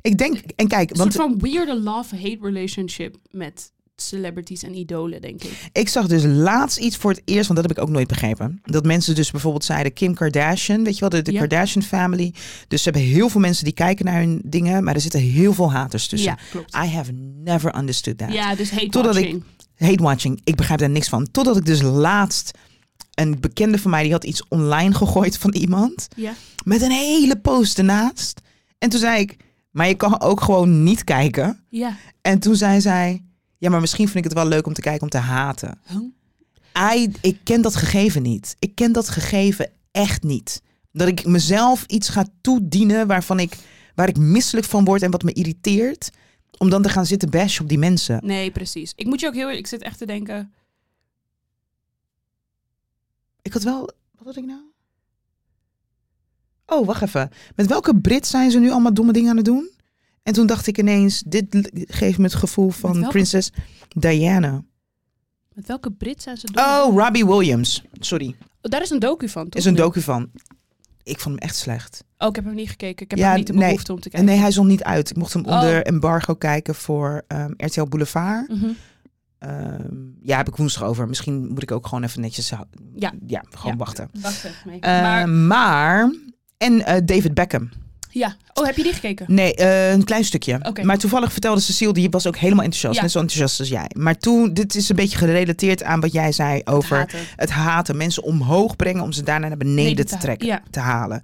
Ik denk, en kijk,
Een
want
soort van weirde love-hate relationship met celebrities en idolen, denk ik.
ik zag dus laatst iets voor het eerst, want dat heb ik ook nooit begrepen. Dat mensen dus bijvoorbeeld zeiden Kim Kardashian, weet je wel, de, de
Ja.
Kardashian family. Dus ze hebben heel veel mensen die kijken naar hun dingen, maar er zitten heel veel haters tussen.
ja, klopt.
I have never understood that.
ja, dus hate
Dus Totdat ik-
watching.
Hate watching, ik begrijp daar niks van. Totdat ik dus laatst een bekende van mij die had iets online gegooid van iemand
Ja.
met een hele post ernaast. En toen zei ik, maar je kan ook gewoon niet kijken.
Ja.
En toen zei zij, ja, maar misschien vind ik het wel leuk om te kijken om te haten. I, ik ken dat gegeven niet. Ik ken dat gegeven echt niet. Dat ik mezelf iets ga toedienen waarvan ik, waar ik misselijk van word en wat me irriteert. Om dan te gaan zitten bashen op die mensen.
Nee, precies. Ik moet je ook heel eerlijk... Ik zit echt te denken...
Ik had wel. Wat had ik nou? Oh, wacht even. Met welke Brit zijn ze nu allemaal domme dingen aan het doen? En toen dacht ik ineens: dit l- geeft me het gevoel van
welke?
prinses Diana.
Met welke Brit zijn ze doen?
Oh, Robbie Williams. Sorry.
Daar is een docu van, toch?
Is een
Nu?
docu van. Ik vond hem echt slecht.
Oh, ik heb hem niet gekeken. Ik heb
Ja,
hem niet de
nee.
behoefte om te
En
kijken.
nee, hij is nog niet uit. Ik mocht hem
Oh.
onder embargo kijken voor ehm, RTL Boulevard.
Mhm.
Ehm, ja, heb ik woensdag over. Misschien moet ik ook gewoon even netjes. hou-
Ja.
ja gewoon
Ja.
wachten.
Wacht even mee.
Eh,
maar,
maar... En eh, David Beckham.
ja. Oh, heb je die gekeken?
Nee, eh, een klein stukje.
Oké.
Maar toevallig vertelde Cecile, die was ook helemaal enthousiast.
Ja.
Net zo enthousiast als jij. Maar toen, dit is een beetje gerelateerd aan wat jij zei over het
Haten.
haten. Mensen omhoog brengen om ze daarna naar beneden
Nee,
te,
te ha-
trekken,
ja.
te halen.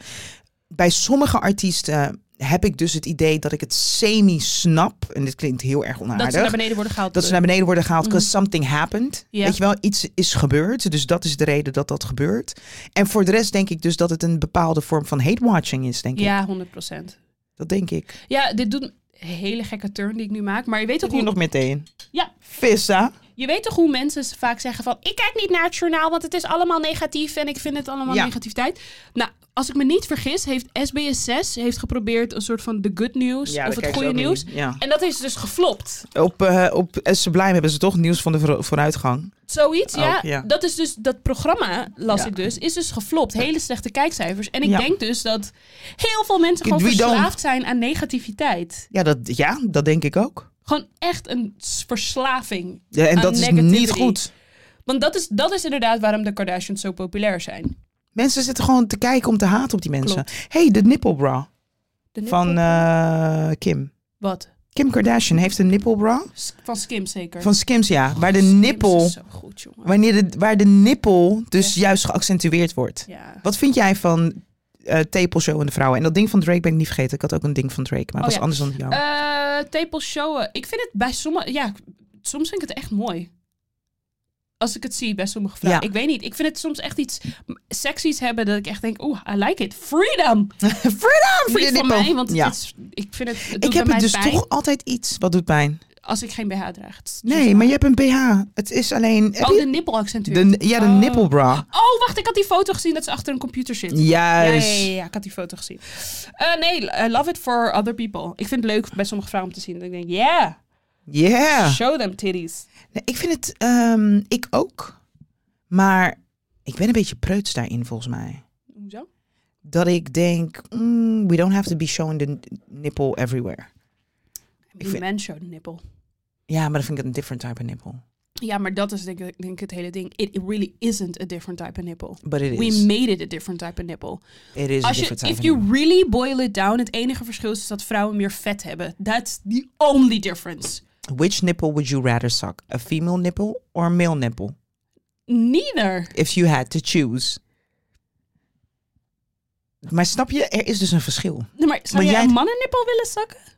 Bij sommige artiesten heb ik dus het idee dat ik het semi-snap. En dit klinkt heel erg onaardig.
Dat ze naar beneden worden gehaald.
Dat ze naar beneden worden gehaald, because something happened.
Ja.
Weet je wel, iets is gebeurd. Dus dat is de reden dat dat gebeurt. En voor de rest denk ik dus dat het een bepaalde vorm van hate-watching is, denk ik.
Ja, 100 procent.
Dat denk ik.
Ja, dit doet een hele gekke turn die ik nu maak. Maar je weet toch
Zit hier
hoe,
nog meteen.
Ja.
Vissa.
je weet toch hoe mensen vaak zeggen van... ik kijk niet naar het journaal, want het is allemaal negatief... en ik vind het allemaal
Ja.
negativiteit. Nou, als ik me niet vergis, heeft SBS6 heeft geprobeerd... een soort van de good news of het goede nieuws.
Ja.
En dat is dus geflopt.
Op, eh, op eh, Sublime hebben ze toch nieuws van de voor- vooruitgang.
Zoiets, ja.
Ook, Oh, ja.
Dat is dus, dat programma, las
Ja.
ik dus, is dus geflopt. Hele slechte kijkcijfers. En ik
Ja.
denk dus dat heel veel mensen gewoon
We don't.
verslaafd zijn aan negativiteit.
Ja dat, ja, dat denk ik ook.
Gewoon echt een s- verslaving.
Ja, en
Aan
dat is
negativity.
niet goed.
Want dat is, dat is inderdaad waarom de Kardashians zo populair zijn.
Mensen zitten gewoon te kijken om te haten op die mensen. hey, de nippelbra
De nipple-
van eh, Kim.
Wat?
Kim Kardashian heeft een nippelbra
S- Van Skim zeker.
van Skims, ja. Waar de
Skims
nippel,
is dus zo goed, jongen.
wanneer de, waar de nippel dus juist geaccentueerd wordt.
Ja.
Wat vind jij van eh Tepelshow en de vrouwen? En dat ding van Drake ben ik niet vergeten. Ik had ook een ding van Drake, maar het
Oh,
was
ja.
anders dan jou.
Eh, tepel showen. Ik vind het bij sommige... Ja, soms vind ik het echt mooi. Als ik het zie bij sommige vrouwen.
Ja.
Ik weet niet. Ik vind het soms echt iets seksies hebben dat ik echt denk... Oeh, I like it. Freedom! Eh,
Ah, Freedom voor
Niet
je
van
nippel.
mij, want het
Ja.
is, ik vind het... het doet
Ik heb
bij
het dus
mij pijn
toch altijd iets wat doet pijn.
Als ik geen BH draag. Het is dus
Nee, maar je hebt een BH. Het is alleen. heb
Oh,
je-
de nippel accentueert.
de, ja, de
Oh.
nippelbra.
Oh, wacht. Ik had die foto gezien dat ze achter een computer zit. Ja, ja,
Juist.
ja, ja, ik had die foto gezien. Eh, nee, I love it for other people. Ik vind het leuk bij sommige vrouwen om te zien. Dat ik denk, yeah,
Yeah.
show them titties.
Nee, ik vind het. ehm, ik ook. Maar ik ben een beetje preuts daarin, volgens mij.
Hoezo?
Dat ik denk, mm, we don't have to be showing the nipple everywhere.
Ik
vind-
Men show the nipple.
Ja, maar dan vind ik het een different type of nipple.
Ja, maar dat is denk ik, denk ik het hele ding. It really isn't a different type of nipple.
But it
We
is.
made it a different type of nipple.
it is a
Als je,
different type
if
of
you
nipple.
really boil it down, het enige verschil is dat vrouwen meer vet hebben. That's the only difference.
Which nipple would you rather suck? A female nipple or a male nipple?
Neither.
If you had to choose. Maar snap je, er is dus een verschil.
Nee, maar zou
Maar
jij
jij-
een mannennippel willen zakken?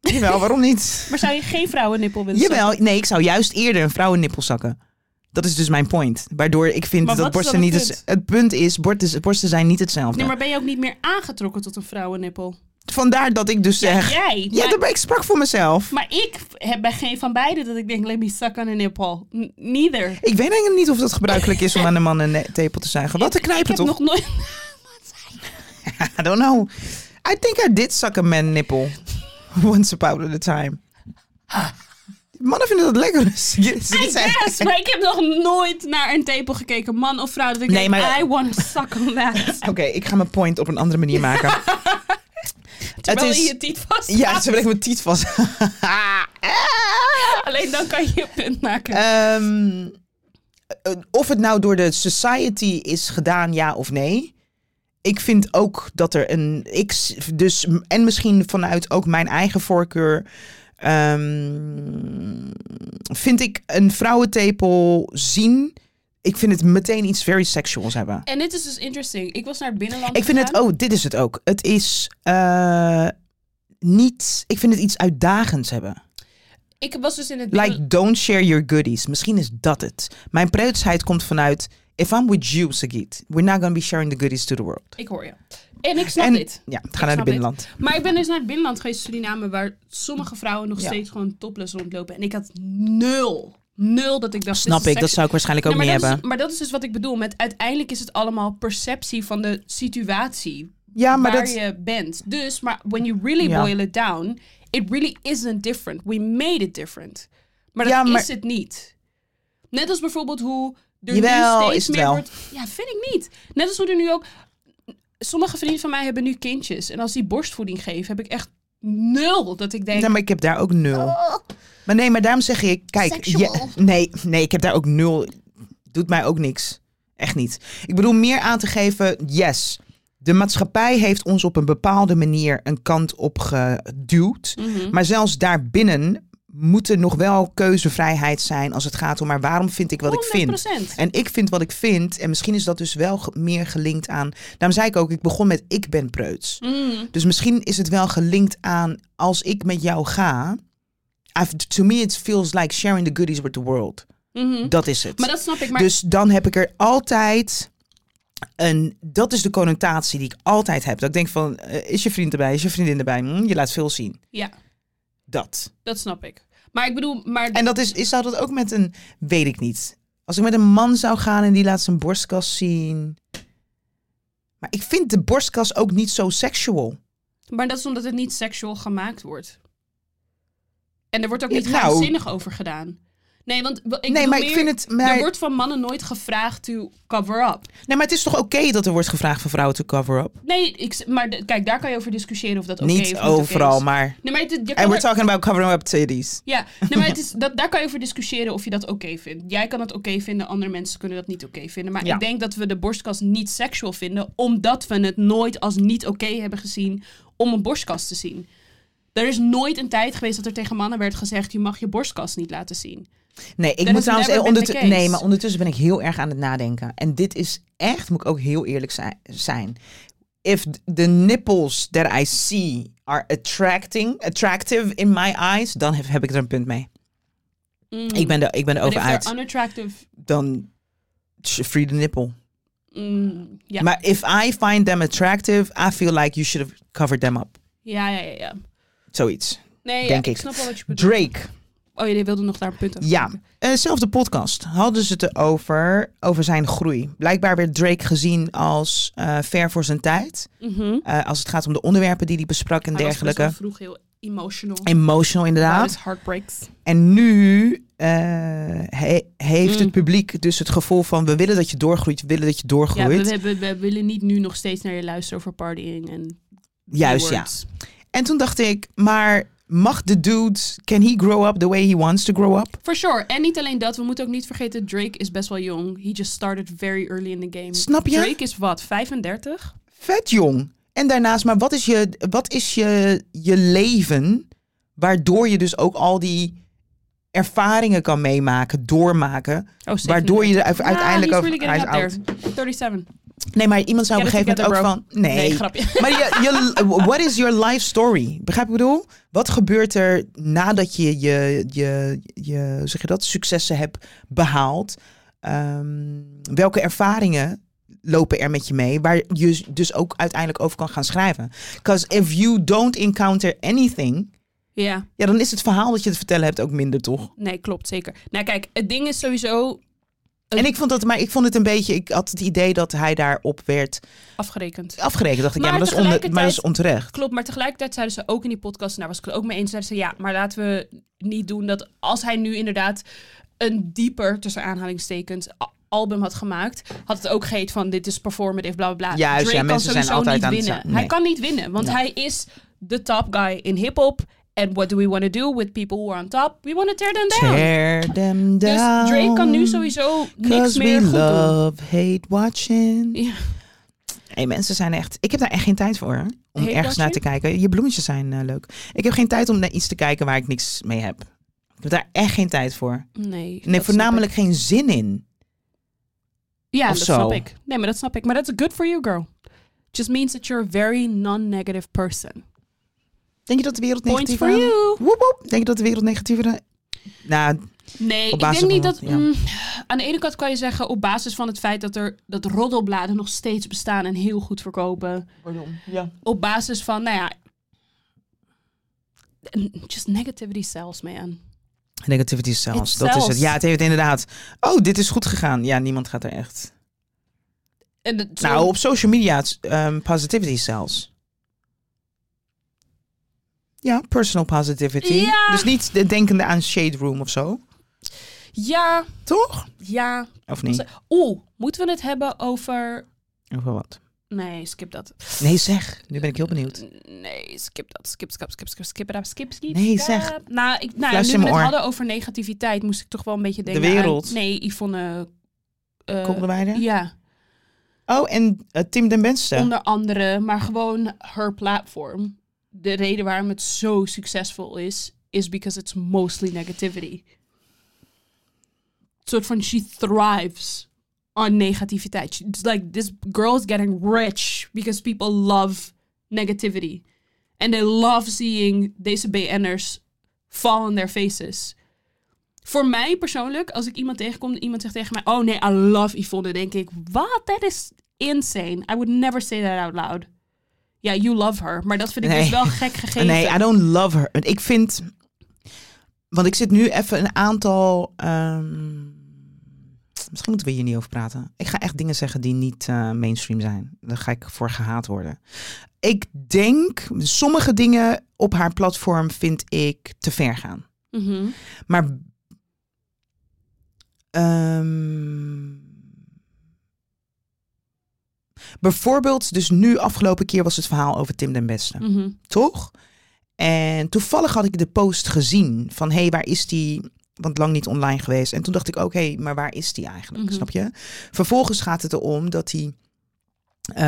Jawel, waarom niet?
Maar zou je geen vrouwennippel willen zakken?
Jawel, nee, ik zou juist eerder een vrouwennippel zakken. Dat is dus mijn point. Waardoor ik vind
Maar
dat
wat is
borsten
dan
niet
het
het, het punt is, borsten, borsten zijn niet hetzelfde.
Nee, maar ben je ook niet meer aangetrokken tot een vrouwennippel?
Vandaar dat ik dus zeg. Ja,
Jij? maar,
dat ben- ik sprak voor mezelf.
maar ik heb bij geen van beide dat ik denk, let me suck on a nipple. N- neither.
Ik weet eigenlijk niet of dat gebruikelijk is om aan een man een ne- tepel te zuigen. Wat een
Ik
knijpen
heb
toch?
nog nooit...
I don't know. I think I did suck a man nipple. Once about at a time. Mannen vinden dat lekker. Ze- ze-
I
ze-
guess, maar ik heb nog nooit naar een tepel gekeken, man of vrouw. Dat ik
Nee,
denk,
maar-
I want to suck on that.
Oké, ik ga mijn point op een andere manier maken. Het
wel in
is,
je tiet vast.
ja, ze brengt mijn tiet vast.
Alleen dan kan je je punt maken.
Ehm, eh, of het nou door de society is gedaan, ja of nee. Ik vind ook dat er een. Ik, s- dus, en misschien vanuit ook mijn eigen voorkeur. ehm, vind ik een vrouwentepel zien. Ik vind het meteen iets very sexuals hebben.
en dit is dus interesting. Ik was naar het binnenland
Ik vind het.
gegaan.
Oh, dit is het ook. Het is. eh, niet. Ik vind het iets uitdagends hebben.
Ik was dus in het binnenland.
Like, don't share your goodies. Misschien is dat het. Mijn preutsheid komt vanuit... If I'm with you, Sagit, we're not gonna be sharing the goodies to the world.
Ik hoor je. En ik snap
En-
dit.
Ja,
snap
ga naar het
dit.
binnenland.
Maar ik ben dus naar het binnenland geweest, Suriname, waar sommige vrouwen nog
Ja.
steeds gewoon topless rondlopen. En ik had nul. Nul dat ik dacht.
Snap
dit is
ik, dat
seks-
zou ik waarschijnlijk ook
Nee, maar
niet
dat
hebben.
Is, maar dat is dus wat ik bedoel. Met uiteindelijk is het allemaal perceptie van de situatie
ja, maar
waar
dat...
je bent. Dus, maar when you really
Ja.
boil it down, it really isn't different. We made it different. Maar dat
Ja, maar-
is het niet. Net als bijvoorbeeld hoe er
Jawel,
nu steeds
is het
meer
wel.
wordt... Ja, vind ik niet. Net als hoe er nu ook... Sommige vrienden van mij hebben nu kindjes. En als die borstvoeding geven, heb ik echt nul dat ik denk...
Nee, maar ik heb daar ook nul.
Oh.
Maar nee, maar daarom zeg ik... Kijk,
Sexual.
je- nee, nee, ik heb daar ook nul. Doet mij ook niks. Echt niet. Ik bedoel meer aan te geven... Yes, de maatschappij heeft ons op een bepaalde manier... een kant op geduwd.
Mhm.
Maar zelfs daarbinnen moet er nog wel keuzevrijheid zijn als het gaat om maar waarom vind ik wat
Oh,
ik vind.
100%.
En ik vind wat ik vind en misschien is dat dus wel ge- meer gelinkt aan. Daarom zei ik ook, ik begon met ik ben preuts.
Mm.
Dus misschien is het wel gelinkt aan als ik met jou ga. I've- to me it feels like sharing the goodies with the world.
Mhm.
Dat is het.
Maar dat snap ik. Maar
Dus dan heb ik er altijd een. Dat is de connotatie die ik altijd heb. Dat ik denk van, eh, is je vriend erbij, is je vriendin erbij? Hm, je laat veel zien.
ja,
Dat.
dat snap ik. Maar ik bedoel, maar
En dat is, is, zou dat ook met een, weet ik niet. Als ik met een man zou gaan en die laat zijn borstkas zien. Maar ik vind de borstkas ook niet zo sexual.
Maar dat is omdat het niet seksueel gemaakt wordt. En er wordt ook
Ja,
niet
nou.
geheimzinnig over gedaan. Nee, want w- ik
nee,
bedoel
maar
meer,
ik vind het. Maar,
Er wordt van mannen nooit gevraagd to cover up.
Nee, maar het is toch oké dat er wordt gevraagd van vrouwen te cover up?
Nee, ik, s- maar d- kijk, daar kan je over discussiëren of dat oké
niet
of niet oké
overal,
is.
maar.
Nee, maar, het, je kan
En we're
er-
talking about covering up titties.
ja, nee, maar het is, dat, daar kan je over discussiëren of je dat oké vindt. Jij kan dat oké vinden, andere mensen kunnen dat niet oké vinden. Maar
Ja.
ik denk dat we de borstkas niet seksueel vinden, omdat we het nooit als niet oké hebben gezien om een borstkas te zien. Er is nooit een tijd geweest dat er tegen mannen werd gezegd: je mag je borstkas niet laten zien.
Nee, ik
That
moet
has
trouwens.
never been the
ondertu- nee,
case.
maar ondertussen ben ik heel erg aan het nadenken. En dit is echt, moet ik ook heel eerlijk zi- zijn. If the nipples that I see are attracting, attractive in my eyes, dan heb, heb ik er een punt mee.
Mm.
Ik ben er, ik ben er
But
over
if they're
uit.
unattractive.
Dan sh- free the nipple.
mm, ja.
Maar if I find them attractive, I feel like you should have covered them up.
ja, ja, ja, ja.
Zoiets.
Nee, ja,
Denk
ik.
ik.
snap wel wat je bedoelt.
Drake.
Oh, jullie wilden nog daar een punt over
Ja.
maken.
Eh, zelfde podcast hadden ze het erover, over zijn groei. Blijkbaar werd Drake gezien als eh, ver voor zijn tijd.
Mhm.
Eh, als het gaat om de onderwerpen die hij besprak en
Hij was best wel
dergelijke.
vroeg heel emotional.
Emotional inderdaad.
Tijdens heartbreaks.
En nu eh, he- heeft
Mm.
het publiek dus het gevoel van... we willen dat je doorgroeit, we willen dat je
Ja, we,
doorgroeit.
we- we willen niet nu nog steeds naar je luisteren over partying en
Juist, ja.
words.
En toen dacht ik, maar mag de dude, can he grow up the way he wants to grow up?
For sure. En niet alleen dat, we moeten ook niet vergeten, Drake is best wel jong. He just started very early in the game.
Snap je?
Drake is wat, Oh, 35?
Vet jong. En daarnaast, maar wat is je, wat is je, je leven waardoor je dus ook al die ervaringen kan meemaken, doormaken,
Oh, 37.
waardoor je er u- uiteindelijk
ah,
over...
he's really
hij
getting
is
up
oud.
there. 37.
Nee, maar iemand zou op een
Get it
gegeven moment ook
together,
van... Nee,
Nee, grapje.
maar je, je, what is your life story? Begrijp ik wat ik bedoel? Wat gebeurt er nadat je je, je, je hoe zeg je dat, successen hebt behaald? Ehm, welke ervaringen lopen er met je mee? Waar je dus ook uiteindelijk over kan gaan schrijven. Because if you don't encounter anything...
Ja,
Ja, dan is het verhaal dat je te vertellen hebt ook minder, toch?
nee, klopt, zeker. Nou kijk, het ding is sowieso
En ik vond dat, maar ik vond het een beetje, ik had het idee dat hij daarop werd
afgerekend.
afgerekend. Dacht ik, ja,
Maar
maar dat is, onder- maar dat is
tegelijkertijd-
onterecht.
Klopt, maar tegelijkertijd zeiden ze ook in die podcast, en daar was ik het ook mee eens, zeiden ze ja, maar laten we niet doen dat als hij nu inderdaad een dieper, tussen aanhalingstekens, a- album had gemaakt, had het ook geheet van dit is performative, bla bla bla.
Juist, ja,
Drake kan
mensen zijn
sowieso
altijd
niet
aan het
winnen.
zijn- nee.
Hij kan niet winnen, want
Nee.
hij is the top guy in hip-hop. And what do we want to do with people who are on top? We want to tear them down.
Tear them down.
Dus Drake kan nu sowieso niks
'cause
meer
we
goed doen.
love, hate watching.
Ja.
Hey, mensen zijn echt... Ik heb daar echt geen tijd voor. hè, Om
Hate
ergens naar te
watching?
kijken. Je bloemetjes zijn eh, leuk. Ik heb geen tijd om naar iets te kijken waar ik niks mee heb. Ik heb daar echt geen tijd voor.
Nee, dat
Nee,
snap
voornamelijk
ik.
geen zin in.
Ja,
of
dat
zo.
snap ik. Nee, maar dat snap ik. Maar that's good for you, girl. Just means that you're a very non-negative person.
Denk je dat de wereld
Points
negatief
for you.
Woep, woep. Denk je dat de wereld negatiever... Nou,
Nee,
Op
ik
basis
denk niet
van
dat...
wat, ja.
mm, aan de ene kant kan je zeggen, op basis van het feit dat, er, dat roddelbladen nog steeds bestaan en heel goed verkopen.
ja.
Op basis van, nou ja... Just negativity sells, man.
Negativity zelfs.
It
Dat is
sells.
het. Ja, het heeft inderdaad... Oh, dit is goed gegaan. Ja, niemand gaat er echt...
En het-
Nou, op social media het is, ehm, positivity zelfs. Ja, personal positivity.
Ja.
Dus niet de- denkende aan shade room of zo.
Ja,
Toch?
ja.
Of niet?
Oeh, moeten we het hebben over...
Over wat?
Nee, skip dat.
Nee, zeg. Nu ben ik heel
Eh,
benieuwd.
Nee, skip dat. Skip, skip, skip, skip, skip, skip, skip, skip.
Nee,
skip.
zeg.
Nou, ik, nou ja,
Fluister
nu
in mijn
we het
oor.
hadden over negativiteit, moest ik toch wel een beetje denken
wereld.
Aan, nee, Yvonne... eh,
Kom erbij er?
ja,
Oh, en eh, Tim den Benste.
onder andere, maar gewoon haar platform. De reden waarom het zo succesvol is, is because it's mostly negativity. Een soort van she thrives on negativiteit. She- It's like this girl is getting rich because people love negativity. And they love seeing deze BN'ers fall on their faces. Voor mij persoonlijk, als ik iemand tegenkom, en iemand zegt tegen mij: Oh nee, I love Yvonne. Denk ik: Wat? Dat is insane. I would never say that out loud. Ja, you love her. Maar dat vind ik
Nee.
dus wel gek gegeven.
Nee, I don't love her. En Ik vind... Want ik zit nu even een aantal... ehm, misschien moeten we hier niet over praten. Ik ga echt dingen zeggen die niet eh, mainstream zijn. Daar ga ik voor gehaat worden. Ik denk... Sommige dingen op haar platform vind ik te ver gaan.
Mhm.
Maar... ehm, bijvoorbeeld, dus nu afgelopen keer was het verhaal over Tim den Beste
Mhm.
toch? En toevallig had ik de post gezien van hé, hey, waar is die? Want lang niet online geweest. En toen dacht ik ook, hé, maar waar is die eigenlijk?
Mhm.
Snap je? Vervolgens gaat het erom dat die, eh,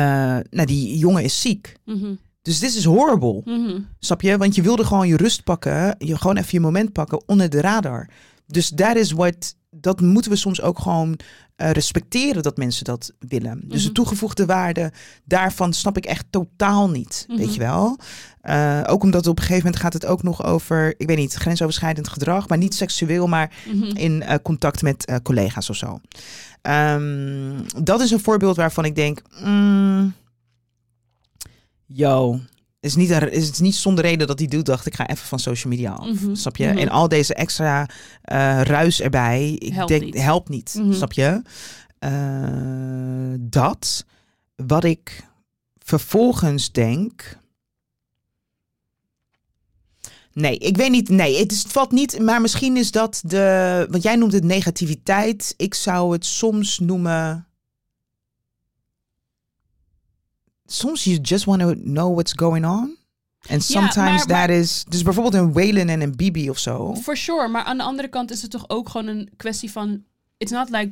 nou, die jongen is ziek.
Mhm.
Dus dit is horrible.
Mhm.
Snap je? Want je wilde gewoon je rust pakken, je gewoon even je moment pakken onder de radar. Dus daar is wat, dat moeten we soms ook gewoon eh, respecteren dat mensen dat willen. Dus de
Mhm.
toegevoegde waarde daarvan snap ik echt totaal niet.
Mhm.
Weet je wel? Eh, ook omdat op een gegeven moment gaat het ook nog over, ik weet niet, grensoverschrijdend gedrag, maar niet seksueel, maar
Mhm.
in eh, contact met eh, collega's of zo. Ehm, dat is een voorbeeld waarvan ik denk, mm, yo, is niet, een- is het niet zonder reden dat die dude dacht, ik ga even van social media af.
Mhm.
Snap je?
Mhm.
En al deze extra eh, ruis erbij, ik
Helpt
denk,
niet.
helpt niet.
Mhm.
Snap je? Eh, dat, wat ik vervolgens denk. Nee, ik weet niet. Nee, het, is, het valt niet. Maar misschien is dat de. Want jij noemt het negativiteit. Ik zou het soms noemen. Soms you just want to know what's going on. En sometimes
maar- maar-
that is. Dus bijvoorbeeld een Waylon en een Bibi of zo.
For sure, maar aan de andere kant is het toch ook gewoon een kwestie van... It's not like...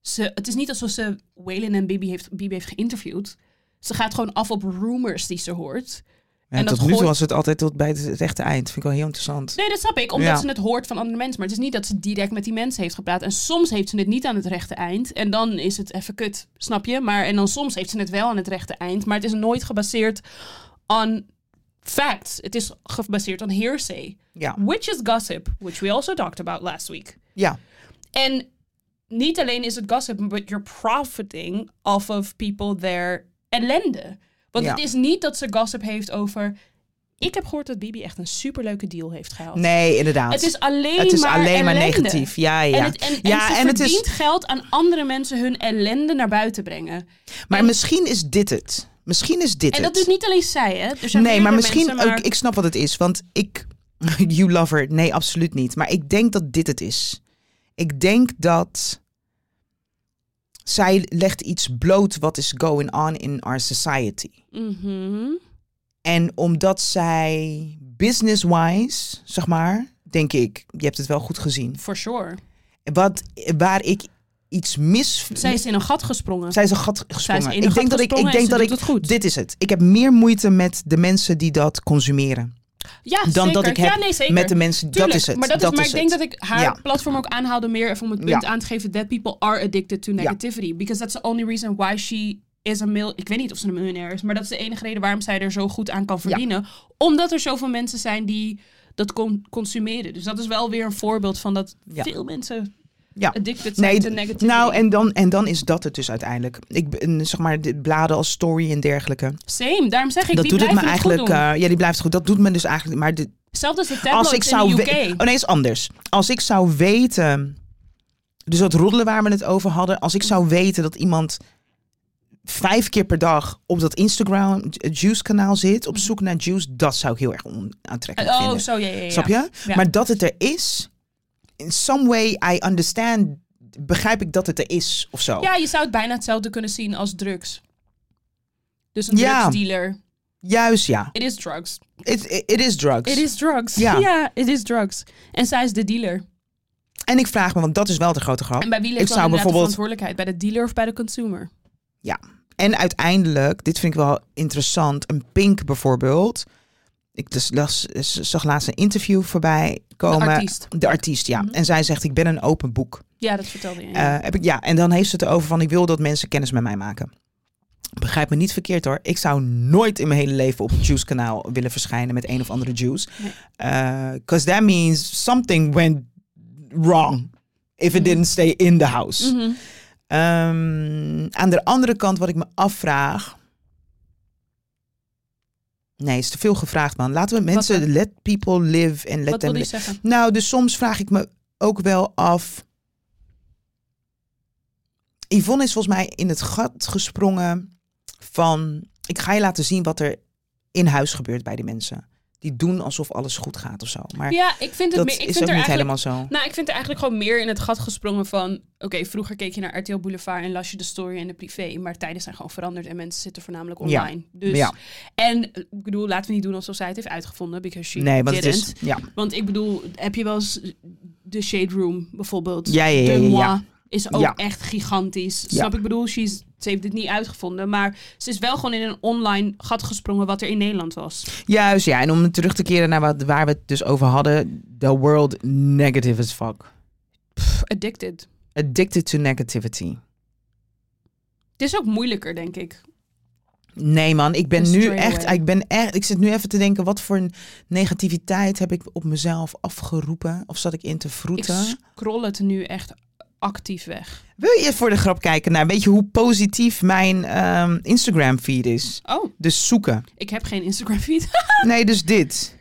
Ze, het is niet alsof ze Waylon en Bibi heeft, Bibi heeft geïnterviewd. Ze gaat gewoon af op rumors die ze hoort.
En,
en dat
tot nu toe
gooit-
was het altijd tot bij het, het echte eind. Vind ik wel heel interessant.
Nee, dat snap ik, omdat
Ja.
ze het hoort van andere mensen. Maar het is niet dat ze direct met die mensen heeft gepraat. En soms heeft ze het niet aan het rechte eind. En dan is het even kut, snap je? Maar, en dan soms heeft ze het wel aan het rechte eind. Maar het is nooit gebaseerd on facts. Het is gebaseerd on hearsay.
Ja.
Which is gossip, which we also talked about last week.
Ja.
En niet alleen is het gossip, but you're profiting off of people their ellende. Want
Ja.
het is niet dat ze gossip heeft over. Ik heb gehoord dat Bibi echt een superleuke deal heeft gehaald.
Nee, inderdaad.
Het is alleen,
het is
maar,
alleen maar
ellende.
negatief. Ja, ja.
En, het, en, en
ja,
ze
het
verdient
is.
geld aan andere mensen hun ellende naar buiten brengen.
Maar
en-
misschien is dit het. Misschien is dit
En
het.
dat doet niet alleen zij, hè? Er zijn
nee, maar
meerdere
misschien
mensen, maar-
ook. Ik snap wat het is, want ik. You love her. Nee, absoluut niet. Maar ik denk dat dit het is. Ik denk dat. Zij legt iets bloot wat is going on in our society.
Mhm.
En omdat zij business-wise, zeg maar, denk ik, je hebt het wel goed gezien.
For sure.
Wat, waar ik iets mis...
Zij is in een gat gesprongen.
Zij is een gat
Zij
gesprongen.
is in
ik
een gat
denk dat ik,
gesprongen
ik denk
en
dat
ze
ik,
doet het goed.
dit is het. Ik heb meer moeite met de mensen die dat consumeren.
ja,
dan
zeker.
dat ik
ja,
heb
nee, zeker.
Met de mensen,
Tuurlijk,
dat is het.
Maar, dat is, maar
is
ik denk
het.
dat ik haar
Ja.
platform ook aanhaalde meer even om het punt
Ja.
aan te geven. That people are addicted to
Ja.
negativity. Because that's the only reason why she is a mil. Ik weet niet of ze een miljonair is, maar dat is de enige reden waarom zij er zo goed aan kan verdienen. Omdat er zoveel mensen zijn die dat con- consumeren. Dus dat is wel weer een voorbeeld van dat
Ja.
veel mensen
Ja.
addicted zijn
Nee,
to
d-
negativity.
Nou, en dan, en dan is dat het dus uiteindelijk. Ik ben, zeg maar, de bladen als story en dergelijke.
Same, daarom zeg ik,
dat
die
doet het me
blijven het
eigenlijk.
goed doen.
eh, ja, die blijft goed. Dat doet me dus eigenlijk. Maar de,
Zelfs als de
als
tabloids
ik zou.
in de
we-
UK.
Oh nee, is anders. Als ik zou weten. Dus dat roddelen waar we het over hadden. Als ik zou weten dat iemand vijf keer per dag op dat Instagram eh, Juice kanaal zit. Op zoek naar Juice. Dat zou ik heel erg onaantrekkelijk
Oh,
vinden.
zo, ja, ja, ja.
Snap je?
Ja.
Maar dat het er is. In some way I understand. Begrijp ik dat het er is of zo.
Ja, je zou het bijna hetzelfde kunnen zien als drugs. Dus een
Ja.
drugsdealer.
Juist ja.
It is drugs.
It, it, it is drugs.
It is drugs.
Ja.
it is drugs. En zij is de dealer.
En ik vraag me, want dat is wel de grote grap.
En bij wie
Ik
ligt dan
zou
inderdaad de
bijvoorbeeld-
verantwoordelijkheid? Bij de dealer of bij de consumer?
En uiteindelijk, dit vind ik wel interessant, een Pink bijvoorbeeld. Ik dus las, zag laatst een interview voorbij komen.
de artiest.
De artiest, ja.
Mhm.
En zij zegt, ik ben een open boek.
Ja, dat vertelde je.
Eh, heb ik, ja, en dan heeft ze het over van, ik wil dat mensen kennis met mij maken. Begrijp me niet verkeerd hoor. Ik zou nooit in mijn hele leven op het Juice kanaal willen verschijnen met een of andere juice.
Nee.
Because that means something went wrong. If it
Mhm.
didn't stay in the house.
Mhm.
Ehm, aan de andere kant, wat ik me afvraag. Nee, is te veel gevraagd, man. Laten we mensen.
dan?
Let people live en let
Wat
them
wil die
live.
zeggen?
Nou, dus soms vraag ik me ook wel af. Yvonne is volgens mij in het gat gesprongen van. Ik ga je laten zien wat er in huis gebeurt bij die mensen. Die doen alsof alles goed gaat of zo. Maar
Ja, ik vind het
dat
meer... Ik
is
vind
ook
er
niet
eigenlijk
helemaal zo.
Nou, ik vind er eigenlijk gewoon meer in het gat gesprongen van... Oké, vroeger keek je naar RTL Boulevard en las je de story en de privé. Maar tijden zijn gewoon veranderd en mensen zitten voornamelijk
Ja.
online. Dus,
Ja.
En eh, ik bedoel, laten we niet doen alsof zij het heeft uitgevonden. Because she
nee, want het
didn't.
is. Ja,
Want ik bedoel, heb je wel eens de Shade Room bijvoorbeeld?
ja, ja. ja,
De
ja,
Moi
ja.
is ook
Ja.
echt gigantisch.
Ja.
Snap ik bedoel, she's, ze heeft dit niet uitgevonden. Maar ze is wel gewoon in een online gat gesprongen wat er in Nederland was.
Juist, ja. En om terug te keren naar wat, waar we het dus over hadden. The world negative as fuck.
Pff, addicted.
Addicted to negativity.
Het is ook moeilijker, denk ik.
Nee man, ik ben
Dus
nu
straight
echt,
away.
ik ben echt, ik zit nu even te denken, wat voor een negativiteit heb ik op mezelf afgeroepen? Of zat ik in te
Ik
vroeten?
scroll het nu echt actief weg.
Wil je voor de grap kijken naar, weet je hoe positief mijn ehm, Instagram feed is?
Oh,
Dus zoeken.
ik heb geen Instagram feed.
Nee, dus dit.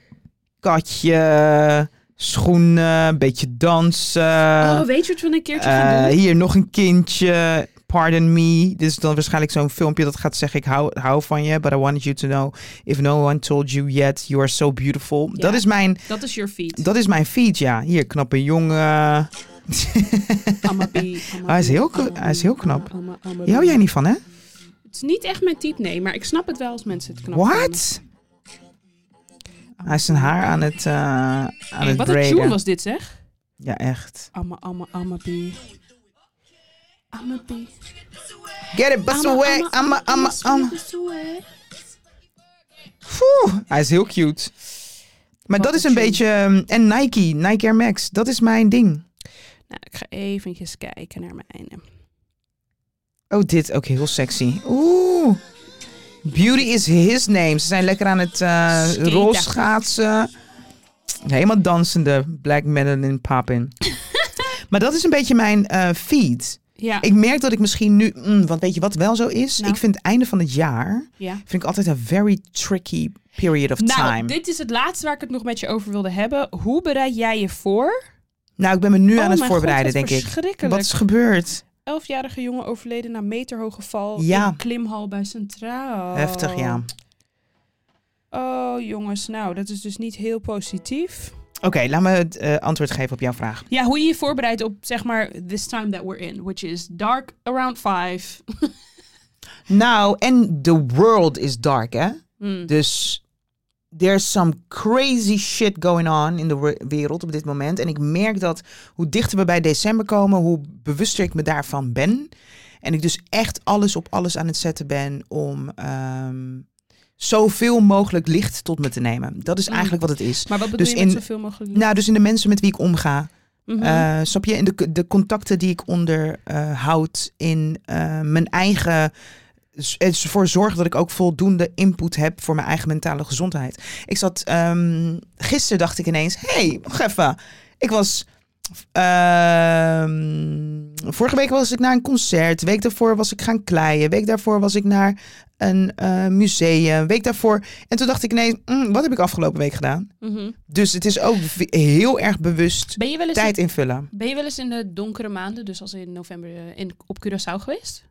Katje, schoenen, beetje dansen.
oh, weet je wat we een keertje gaan
Eh,
doen?
hier nog een kindje. Pardon me. Dit is dan waarschijnlijk zo'n filmpje dat gaat zeggen: Ik hou, hou van je, but I wanted you to know if no one told you yet, you are so beautiful.
Ja.
Dat, is mijn,
Dat is your feed.
dat is mijn feed, ja. Hier, knappe jongen.
Amma Bee, Amma
Hij is
Bee,
heel k-
Amma
hij is
Bee,
heel knap.
Amma, Amma, Amma
Hier hou
Bee.
jij niet van, hè?
Het is niet echt mijn type, nee. Maar ik snap het wel als mensen het knap vinden.
What? Hij is zijn haar aan het, eh aan het
Wat een tune
braiden.
was dit, zeg.
Ja, echt.
Amma, amma, amma, bee. Amma, bee.
Get it, bust away. Amma, amma, amma.
bust away.
Poeh, hij is heel cute. Maar
Wat
dat is
een
een
tune.
beetje... ehm, En Nike, Nike Air Max. Dat is mijn ding.
Nou, ik ga eventjes kijken naar mijn einde.
Oh, dit ook heel sexy. Oeh. Beauty is his name. Ze zijn lekker aan het eh
Skaten.
rolschaatsen. Helemaal dansende Black Madeline Papin. maar dat is een beetje mijn eh, feed.
Ja,
Ik merk dat ik misschien nu... mm, want weet je wat wel zo is?
Nou.
Ik vind het einde van het jaar...
ja.
vind ik altijd een very tricky period of
Nou,
time.
dit is het laatste waar ik het nog met je over wilde hebben. Hoe bereid jij je voor?
Nou, ik ben me nu
Oh
aan het
mijn
voorbereiden,
God, wat
denk ik.
verschrikkelijk.
Wat is gebeurd?
Elfjarige jongen overleden na meterhoge val
Ja.
in klimhal bij Centraal.
Heftig, ja.
Oh, jongens. Nou, dat is dus niet heel positief.
Oké, laat me het eh, antwoord geven op jouw vraag.
Ja, hoe je je voorbereidt op, zeg maar, this time that we're in. Which is dark around five.
Nou, en the world is dark, hè?
Hmm.
Dus there's some crazy shit going on in de we- wereld op dit moment. En ik merk dat hoe dichter we bij december komen, hoe bewuster ik me daarvan ben. En ik dus echt alles op alles aan het zetten ben om ehm, zoveel mogelijk licht tot me te nemen. Dat is
Mm.
eigenlijk wat het is.
Maar wat bedoel
Dus
je met
in-
zoveel mogelijk?
Nou, dus in de mensen met wie ik omga.
Mhm.
Eh, snap je? In de, de contacten die ik onderhoud, in eh, mijn eigen. Het ervoor zorgen dat ik ook voldoende input heb voor mijn eigen mentale gezondheid. Ik zat. ehm, gisteren dacht ik ineens: hey, wacht even. Ik was. ehm, vorige week was ik naar een concert. Week daarvoor was ik gaan kleien. Week daarvoor was ik naar een eh, museum. Week daarvoor. En toen dacht ik ineens: "Mm, wat heb ik afgelopen week gedaan?
Mhm.
Dus het is ook v- heel erg bewust
ben, je wel eens
tijd invullen.
ben je wel eens in de donkere maanden, dus als in november, eh, in, op Curaçao geweest?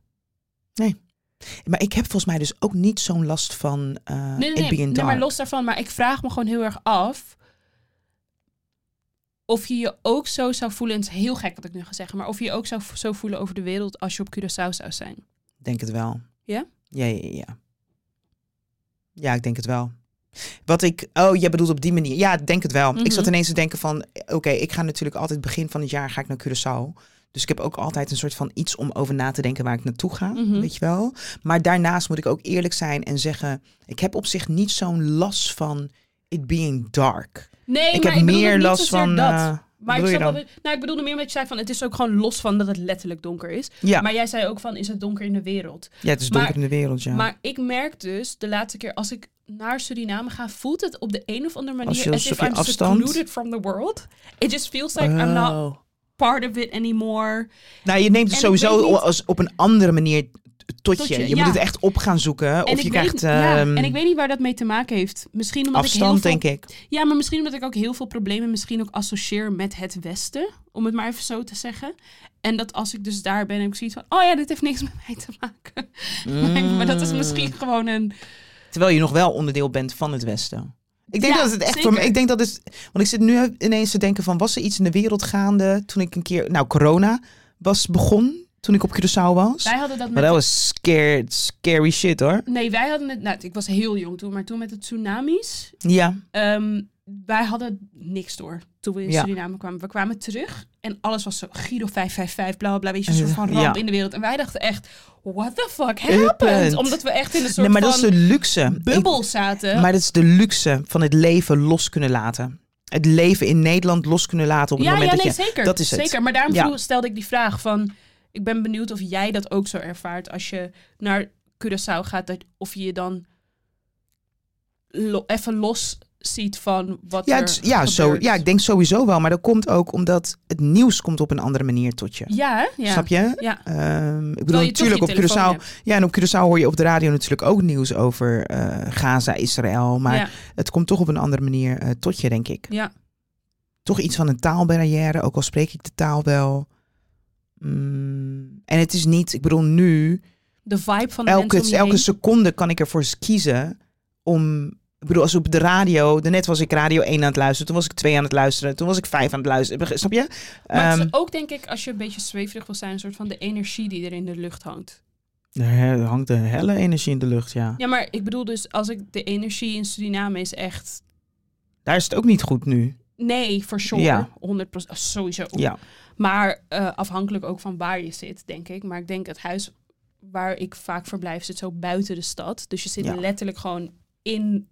Maar ik heb volgens mij dus ook niet zo'n last van eh
Nee, nee,
it
nee,
being
nee, maar
dark.
los daarvan. Maar ik vraag me gewoon heel erg af. Of je je ook zo zou voelen, en het is heel gek wat ik nu ga zeggen, maar of je je ook zou v- zo voelen over de wereld als je op Curaçao zou zijn.
Denk het wel.
Ja?
Ja, ja, ja, ja. Ja, ik denk het wel. Wat ik... Oh, jij bedoelt op die manier. Ja, ik denk het wel. Ik zat
Mhm.
ineens te denken van... Oké, ik ga natuurlijk altijd begin van het jaar ga ik naar Curaçao. Dus ik heb ook altijd een soort van iets om over na te denken waar ik naartoe ga.
Mhm.
Weet je wel? Maar daarnaast moet ik ook eerlijk zijn en zeggen... Ik heb op zich niet zo'n last van it being dark. ik
Nee, maar
heb
ik bedoel
meer
het niet
last
zozeer
van...
dat.
eh,
maar ik,
bedoel je
snap wel
dan?
wat- nou, ik bedoelde meer met je zei van het is ook gewoon los van dat het letterlijk donker is.
ja.
Maar jij zei ook van is het donker in de wereld.
ja, het is
maar-
donker in de wereld, ja.
Maar ik merk dus de laatste keer als ik naar Suriname ga, voelt het op de een of andere
Als je-
manier
alsof je
I'm
afstand-
secluded from the world. It just feels like I'm not
Oh.
part of it anymore.
Nou, je neemt het
En ik
sowieso
weet niet-
als op een andere manier t- tot,
Tot
je.
je,
Je
ja.
moet het echt op gaan zoeken.
En
Of je
ik
krijgt
weet, ja,
ehm,
en ik weet niet waar dat mee te maken heeft. Misschien omdat ik heel
afstand,
veel,
denk ik.
Ja, maar misschien omdat ik ook heel veel problemen misschien ook associeer met het Westen. Om het maar even zo te zeggen. En dat als ik dus daar ben en ik zoiets van... Oh ja, dit heeft niks met mij te maken.
Mm.
maar dat is misschien gewoon een...
Terwijl je nog wel onderdeel bent van het Westen. Ik denk
Ja,
dat het echt voor
zeker.
me. Ik denk dat het. Want ik zit nu ineens te denken: van was er iets in de wereld gaande toen ik een keer. Nou, corona was begon. Toen ik op Curaçao was.
Wij hadden dat
Maar
met...
dat was scared, scary shit hoor.
Nee, wij hadden het... Nou, ik was heel jong toen, maar toen met de tsunamis...
Ja.
ehm, wij hadden niks door toen we in
Ja.
Suriname kwamen. We kwamen terug en alles was zo Giro 555, bla bla bla. Weet je, een soort van
Ja.
ramp in de wereld. En wij dachten echt, what the fuck
Happened.
happened? Omdat we echt in een soort
nee, maar dat
van...
is de luxe. Ik-
bubbel zaten.
Maar dat is de luxe van het leven los kunnen laten. Het leven in Nederland los kunnen laten op het
ja, ja,
moment dat
nee,
je
zeker.
dat is het.
Zeker. Maar daarom
Ja.
vroeg- stelde ik die vraag van... Ik ben benieuwd of jij dat ook zo ervaart als je naar Curaçao gaat. Dat, of je je dan lo- even los ziet van wat
Ja,
er
het is- ja, zo,
gebeurt.
ja, ik denk sowieso wel. Maar dat komt ook omdat het nieuws komt op een andere manier tot je.
Ja, hè? ja.
Snap je?
Ja.
Ehm, ik bedoel,
Terwijl je toch
natuurlijk op
je telefoon
Curaçao.
hebt.
Ja, en op Curaçao hoor je op de radio natuurlijk ook nieuws over eh, Gaza, Israël. Maar
Ja.
het komt toch op een andere manier eh, tot je, denk ik.
Ja.
Toch iets van een taalbarrière, ook al spreek ik de taal wel. Mm, en het is niet, ik bedoel, nu,
De vibe van de mensen om
elke,
je
elke
heen.
seconde kan ik ervoor kiezen om. Ik bedoel, als op de radio, daarnet was ik radio 1 aan het luisteren, toen was ik 2 aan het luisteren, toen was ik 5 aan het luisteren. Beg- Snap je?
Maar het
Ehm,
is ook denk ik, als je een beetje zweverig wil zijn, een soort van de energie die er in de lucht hangt.
er hangt de helle energie in de lucht, ja.
Ja, maar ik bedoel dus, als ik de energie in Suriname is echt...
Daar is het ook niet goed nu.
Nee, for sure.
Ja.
100%. Sowieso.
Ja.
Maar eh, afhankelijk ook van waar je zit, denk ik. Maar ik denk het huis waar ik vaak verblijf zit zo buiten de stad. Dus je zit
Ja.
letterlijk gewoon in...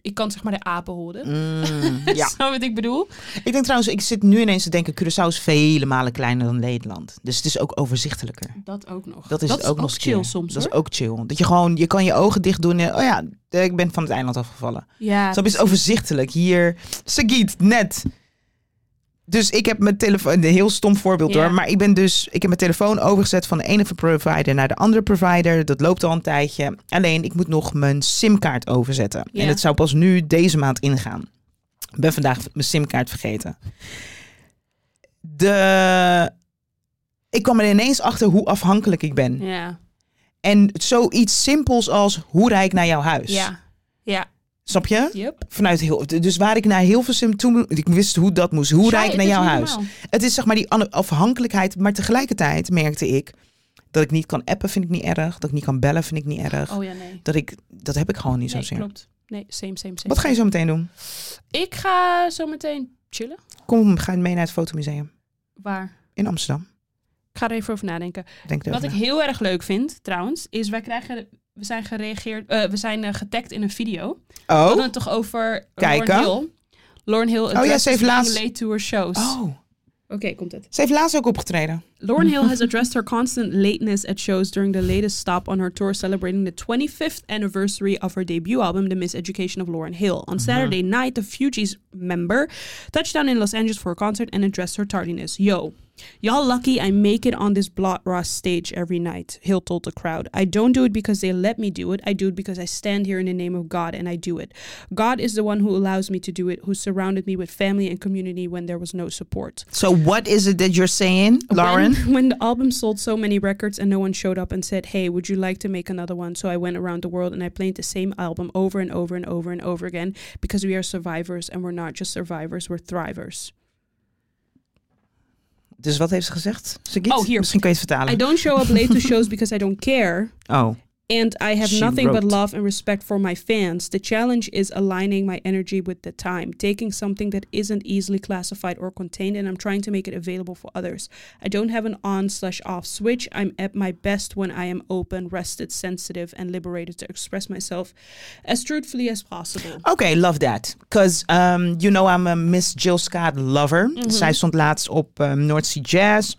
Ik kan zeg maar de apen horen.
Mm, ja.
Snap je wat ik bedoel?
Ik denk trouwens, ik zit nu ineens te denken, Curaçao is vele malen kleiner dan Nederland. Dus het is ook overzichtelijker.
Dat ook nog.
Dat is, het ook, nog eens een
chill
keer.
soms
Dat
hoor.
is ook chill. Dat je gewoon, je kan je ogen dicht doen en, oh ja, ik ben van het eiland afgevallen.
Ja,
Snap je, het is overzichtelijk. Hier, Sagiet, net. Dus ik heb mijn telefoon, een heel stom voorbeeld
Ja.
hoor, maar ik ben dus, ik heb mijn telefoon overgezet van de ene provider naar de andere provider. Dat loopt al een tijdje. Alleen ik moet nog mijn simkaart overzetten.
Ja.
En dat zou pas nu deze maand ingaan. Ik ben vandaag mijn simkaart vergeten. De... Ik kwam er ineens achter hoe afhankelijk ik ben.
ja,
En zoiets simpels als hoe rijd ik naar jouw huis?
ja, ja.
Snap je?
Yep.
Vanuit heel, dus waar ik naar Hilversum toe moest, ik wist hoe dat moest. Hoe rijd ik
Ja,
naar
het dus is
jouw
niet
huis?
normaal.
Het is zeg maar die an- afhankelijkheid, maar tegelijkertijd merkte ik dat ik niet kan appen, vind ik niet erg. Dat ik niet kan bellen, vind ik niet erg.
Oh ja, nee.
Dat ik, dat heb ik gewoon niet
Nee,
zozeer.
klopt. Nee, same, same, same.
Wat ga je zo meteen doen?
Ik ga zo meteen chillen.
Kom, ga je mee naar het fotomuseum
Waar?
in Amsterdam.
Ik ga er even over nadenken.
Denk
Wat
erover
ik
na.
heel erg leuk vind, trouwens, is wij krijgen... We zijn gereageerd... eh, we zijn eh, getagd in een video. We
Oh,
hadden het toch over
Kijken.
Lauren Hill. Lauren Hill
ja,
addresses
ze heeft laatst-
being late to her shows.
oh,
Oké, komt het.
ze heeft laatst ook opgetreden.
Lauren Hill has addressed her constant lateness at shows during the latest stop on her tour celebrating the 25th anniversary of her debut album, The Miseducation of Lauren Hill. On Saturday night, the Fugees member touched down in Los Angeles for a concert and addressed her tardiness. Yo, y'all lucky I make it on this Blot Ross stage every night, Hill told the crowd. I don't do it because they let me do it. I do it because I stand here in the name of God and I do it. God is the one who allows me to do it, who surrounded me with family and community when there was no support.
So what is it that you're saying, Lauren?
When, when the album sold so many records and no one showed up and said, Hey, would you like to make another one? So I went around the world and I played the same album over and over and over and over again because we are survivors and we're not just survivors, we're thrivers.
Dus wat heeft ze gezegd? Ze giet?
Oh, hier.
Misschien kun je het
I
vertalen.
don't show up late to shows because I don't care.
Oh,
And I have
She
nothing but
wrote.
love and respect for my fans. The challenge is aligning my energy with the time, taking something that isn't easily classified or contained, and I'm trying to make it available for others. I don't have an on slash off switch. I'm at my best when I am open, rested, sensitive, and liberated to express myself as truthfully as possible.
okay, love that. Because um, you know I'm a Miss Jill Scott lover. Zij stond laatst op um, North Sea Jazz.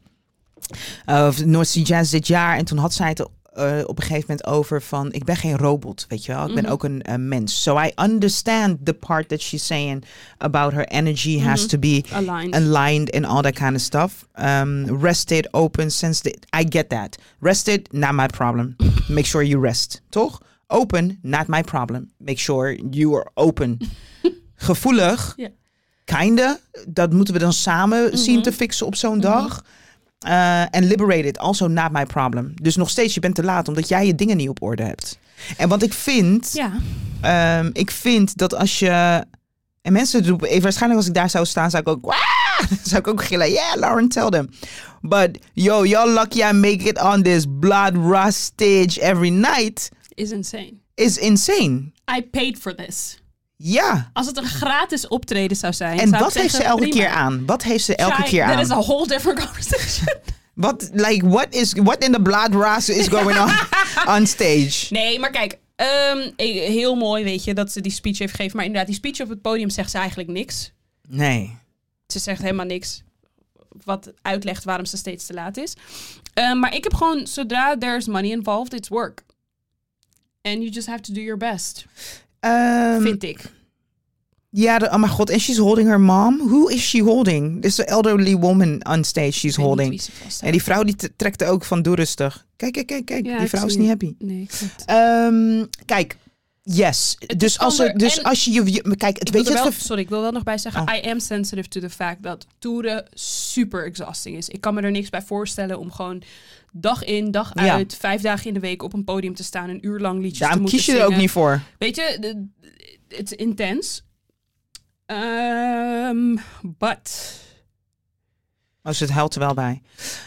Eh, Of North Sea Jazz dit jaar. En toen had zij het eh, op een gegeven moment over van... Ik ben geen robot, weet je wel. Ik ben ook een eh, mens. So I understand the part that she's saying about her energy has to be...
Aligned.
aligned and all that kind of stuff. Um, rested, open, sensitive. I get that. Rested, not my problem. Make sure you rest. Toch? Open, not my problem. Make sure you are open. Gevoelig,
Ja. Mhm.
kinda. Dat moeten we dan samen zien te fixen op zo'n dag. Eh, En liberated, also not my problem. Dus nog steeds, je bent te laat omdat jij je dingen niet op orde hebt. En wat ik vind...
yeah.
Ehm, ik vind dat als je. En mensen doen. eh, Waarschijnlijk als ik daar zou staan, zou ik ook. "Wah!" Zou ik ook gillen. Yeah, Lauren, tell them. But yo, y'all lucky I make it on this blood rush stage every night.
Is insane.
Is insane.
I paid for this.
Ja.
Als het een gratis optreden zou zijn.
En wat heeft ze elke keer aan? Wat heeft ze elke keer aan?
a whole different conversation.
Wat, like, what is, what in the blood rush is going on on stage?
Nee, maar kijk, ehm, eh, heel mooi weet je dat ze die speech heeft gegeven. Maar inderdaad, die speech op het podium zegt ze eigenlijk niks.
Nee.
Ze zegt helemaal niks wat uitlegt waarom ze steeds te laat is. Ehm, maar ik heb gewoon, zodra there's money involved, it's work. And you just have to do your best,
Ehm,
vind ik.
Ja, de- oh mijn god. En she's holding her mom. Who is she holding? This elderly woman on stage she's holding. En die vrouw die t- trekt ook van doe rustig. Kijk, kijk, kijk, kijk.
Ja,
die
ik
vrouw is
zie
niet
het.
happy.
Nee,
Ehm, kijk, yes.
Het
Dus
is
als, er,
ander-
dus
en-
als je je... je- Kijk, het, weet je
wel,
het gef-
sorry, ik wil wel nog bij zeggen,
Oh.
I am sensitive to the fact dat toeren super exhausting is. Ik kan me er niks bij voorstellen om gewoon dag in, dag
Ja.
uit, vijf dagen in de week op een podium te staan, een uur lang liedjes te
Daarom
moeten
kies je er ook
zingen.
niet voor.
Weet je, de- het is intens. Ehm but
Als het huilt er wel bij.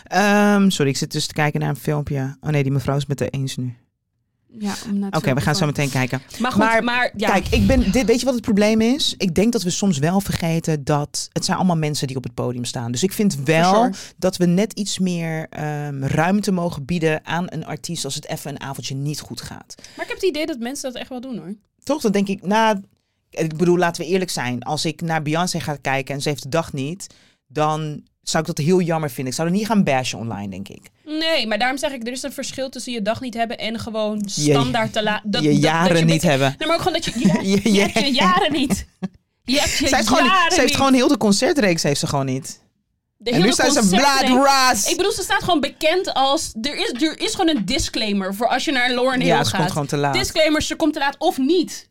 Ehm, sorry, ik zit dus te kijken naar een filmpje. Oh nee, die mevrouw is met de eens nu.
ja,
Oké, we gaan zo meteen kijken.
Maar goed,
maar-
maar, ja,
Kijk, ik ben, dit, weet je wat het probleem is? Ik denk dat we soms wel vergeten dat het zijn allemaal mensen die op het podium staan. Dus ik vind wel
sure.
dat we net iets meer ehm, ruimte mogen bieden aan een artiest als het even een avondje niet goed gaat.
maar ik heb het idee dat mensen dat echt wel doen hoor.
toch, dan denk ik, nou, ik bedoel, laten we eerlijk zijn. Als ik naar Beyoncé ga kijken en ze heeft de dag niet, dan zou ik dat heel jammer vinden. Ik zou er niet gaan bashen online, denk ik.
Nee, maar daarom zeg ik, er is een verschil tussen je dag niet hebben en gewoon standaard te laten.
je jaren niet hebben.
Nee, maar ook gewoon dat je, je, hebt-
Je-
je,
je-
hebt je jaren niet. Je hebt je
Ze heeft,
jaren
gewoon, ze heeft
niet.
gewoon heel de concertreeks heeft ze gewoon niet.
De
en nu
hele
staat ze
concertreeks.
blood raas.
Ik bedoel, ze staat gewoon bekend als... Er is, er is gewoon een disclaimer voor als je naar Lauren Hill
Ja,
gaat.
ze komt gewoon te laat.
Disclaimer, ze komt te laat of niet.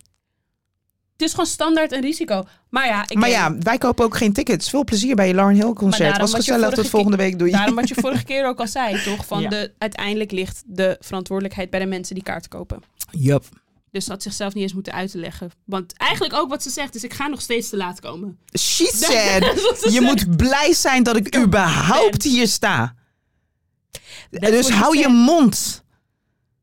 Het is gewoon standaard een risico. Maar ja, ik
Maar
denk-
ja, wij kopen ook geen tickets. Veel plezier bij je Lauren Hill
Maar
concert.
daarom
Was
wat je
gezellig, tot
vorige
volgende week. Doei.
Daarom wat je vorige keer ook al zei, toch? Van
Ja.
de, uiteindelijk ligt de verantwoordelijkheid bij de mensen die kaart kopen.
Yup.
Dus ze had zichzelf niet eens moeten uitleggen. Want eigenlijk ook wat ze zegt is, ik ga nog steeds te laat komen.
She
Dat
said,
is wat
je
ze zegt.
moet blij zijn dat ik überhaupt hier sta.
That's
dus
what
hou
she
je
said.
mond.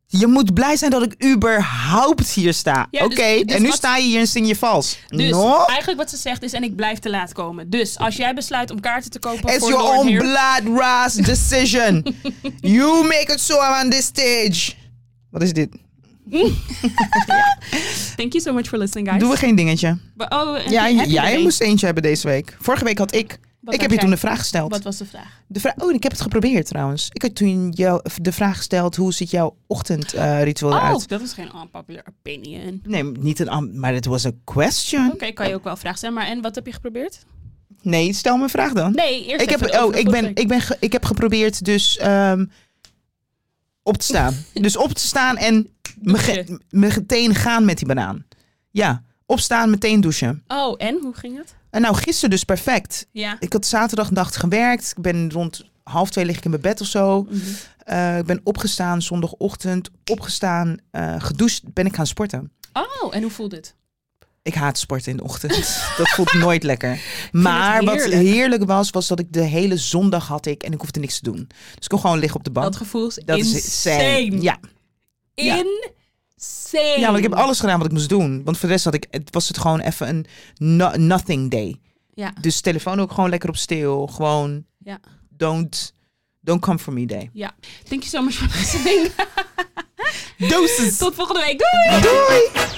Je moet blij zijn dat ik überhaupt hier sta.
Ja,
Oké,
dus- dus
en nu
wat-
sta je hier en zing je vals.
Dus
no?
eigenlijk wat ze zegt is, en ik blijf te laat komen. Dus als jij besluit om kaarten te kopen
It's
voor
your
Lord
own
Heer-
blood ras decision. you make it so I'm on this stage. Wat is dit?
Thank you so much for listening, guys.
Doen we geen dingetje.
Maar- Oh, en
Ja,
heb je er
jij
een?
moest eentje hebben deze week. Vorige week had ik.
Wat
ik
had
heb je
jij?
toen de vraag gesteld.
Wat was de vraag?
De vra- oh, ik heb het geprobeerd trouwens. Ik had toen jou de vraag gesteld: hoe ziet jouw ochtendritueel
Oh,
eruit?
dat is geen unpopular opinion.
Nee, niet een. am- Maar het was een question.
Oké, kan je ook wel vraag stellen. Maar en wat heb je geprobeerd?
Nee, stel mijn vraag dan.
Nee, eerst
ik heb,
even over
oh,
de
ik, ben,
vorige
ik, ben ge- ik heb geprobeerd dus ehm, op te staan. dus op te staan en me ge- me meteen gaan met die banaan. Ja, opstaan, meteen douchen.
week. Oh, en? Hoe ging het?
En nou, gisteren dus perfect.
Ja.
Ik had zaterdag nacht gewerkt. Ik ben rond half twee lig ik in mijn bed of zo.
Mhm.
Eh, ik ben opgestaan zondagochtend. Opgestaan, eh, gedoucht, ben ik gaan sporten.
Oh, en hoe voelde het?
Ik haat sporten in de ochtend. Dat voelt nooit lekker. Maar wat
heerlijk.
heerlijk was, was dat ik de hele zondag had ik en ik hoefde niks te doen. Dus ik kon gewoon liggen op de bank.
Dat gevoel is
Dat
insane.
is insane. Ja. Ja.
Insane.
ja, want ik heb alles gedaan wat ik moest doen. Want voor de rest had ik, het was het gewoon even een no- nothing day.
Ja.
Dus telefoon ook gewoon lekker op stil. Gewoon
Ja.
don't, don't come for me day.
Thank you so much for listening.
Doses!
Tot volgende week. Doei!
Doei!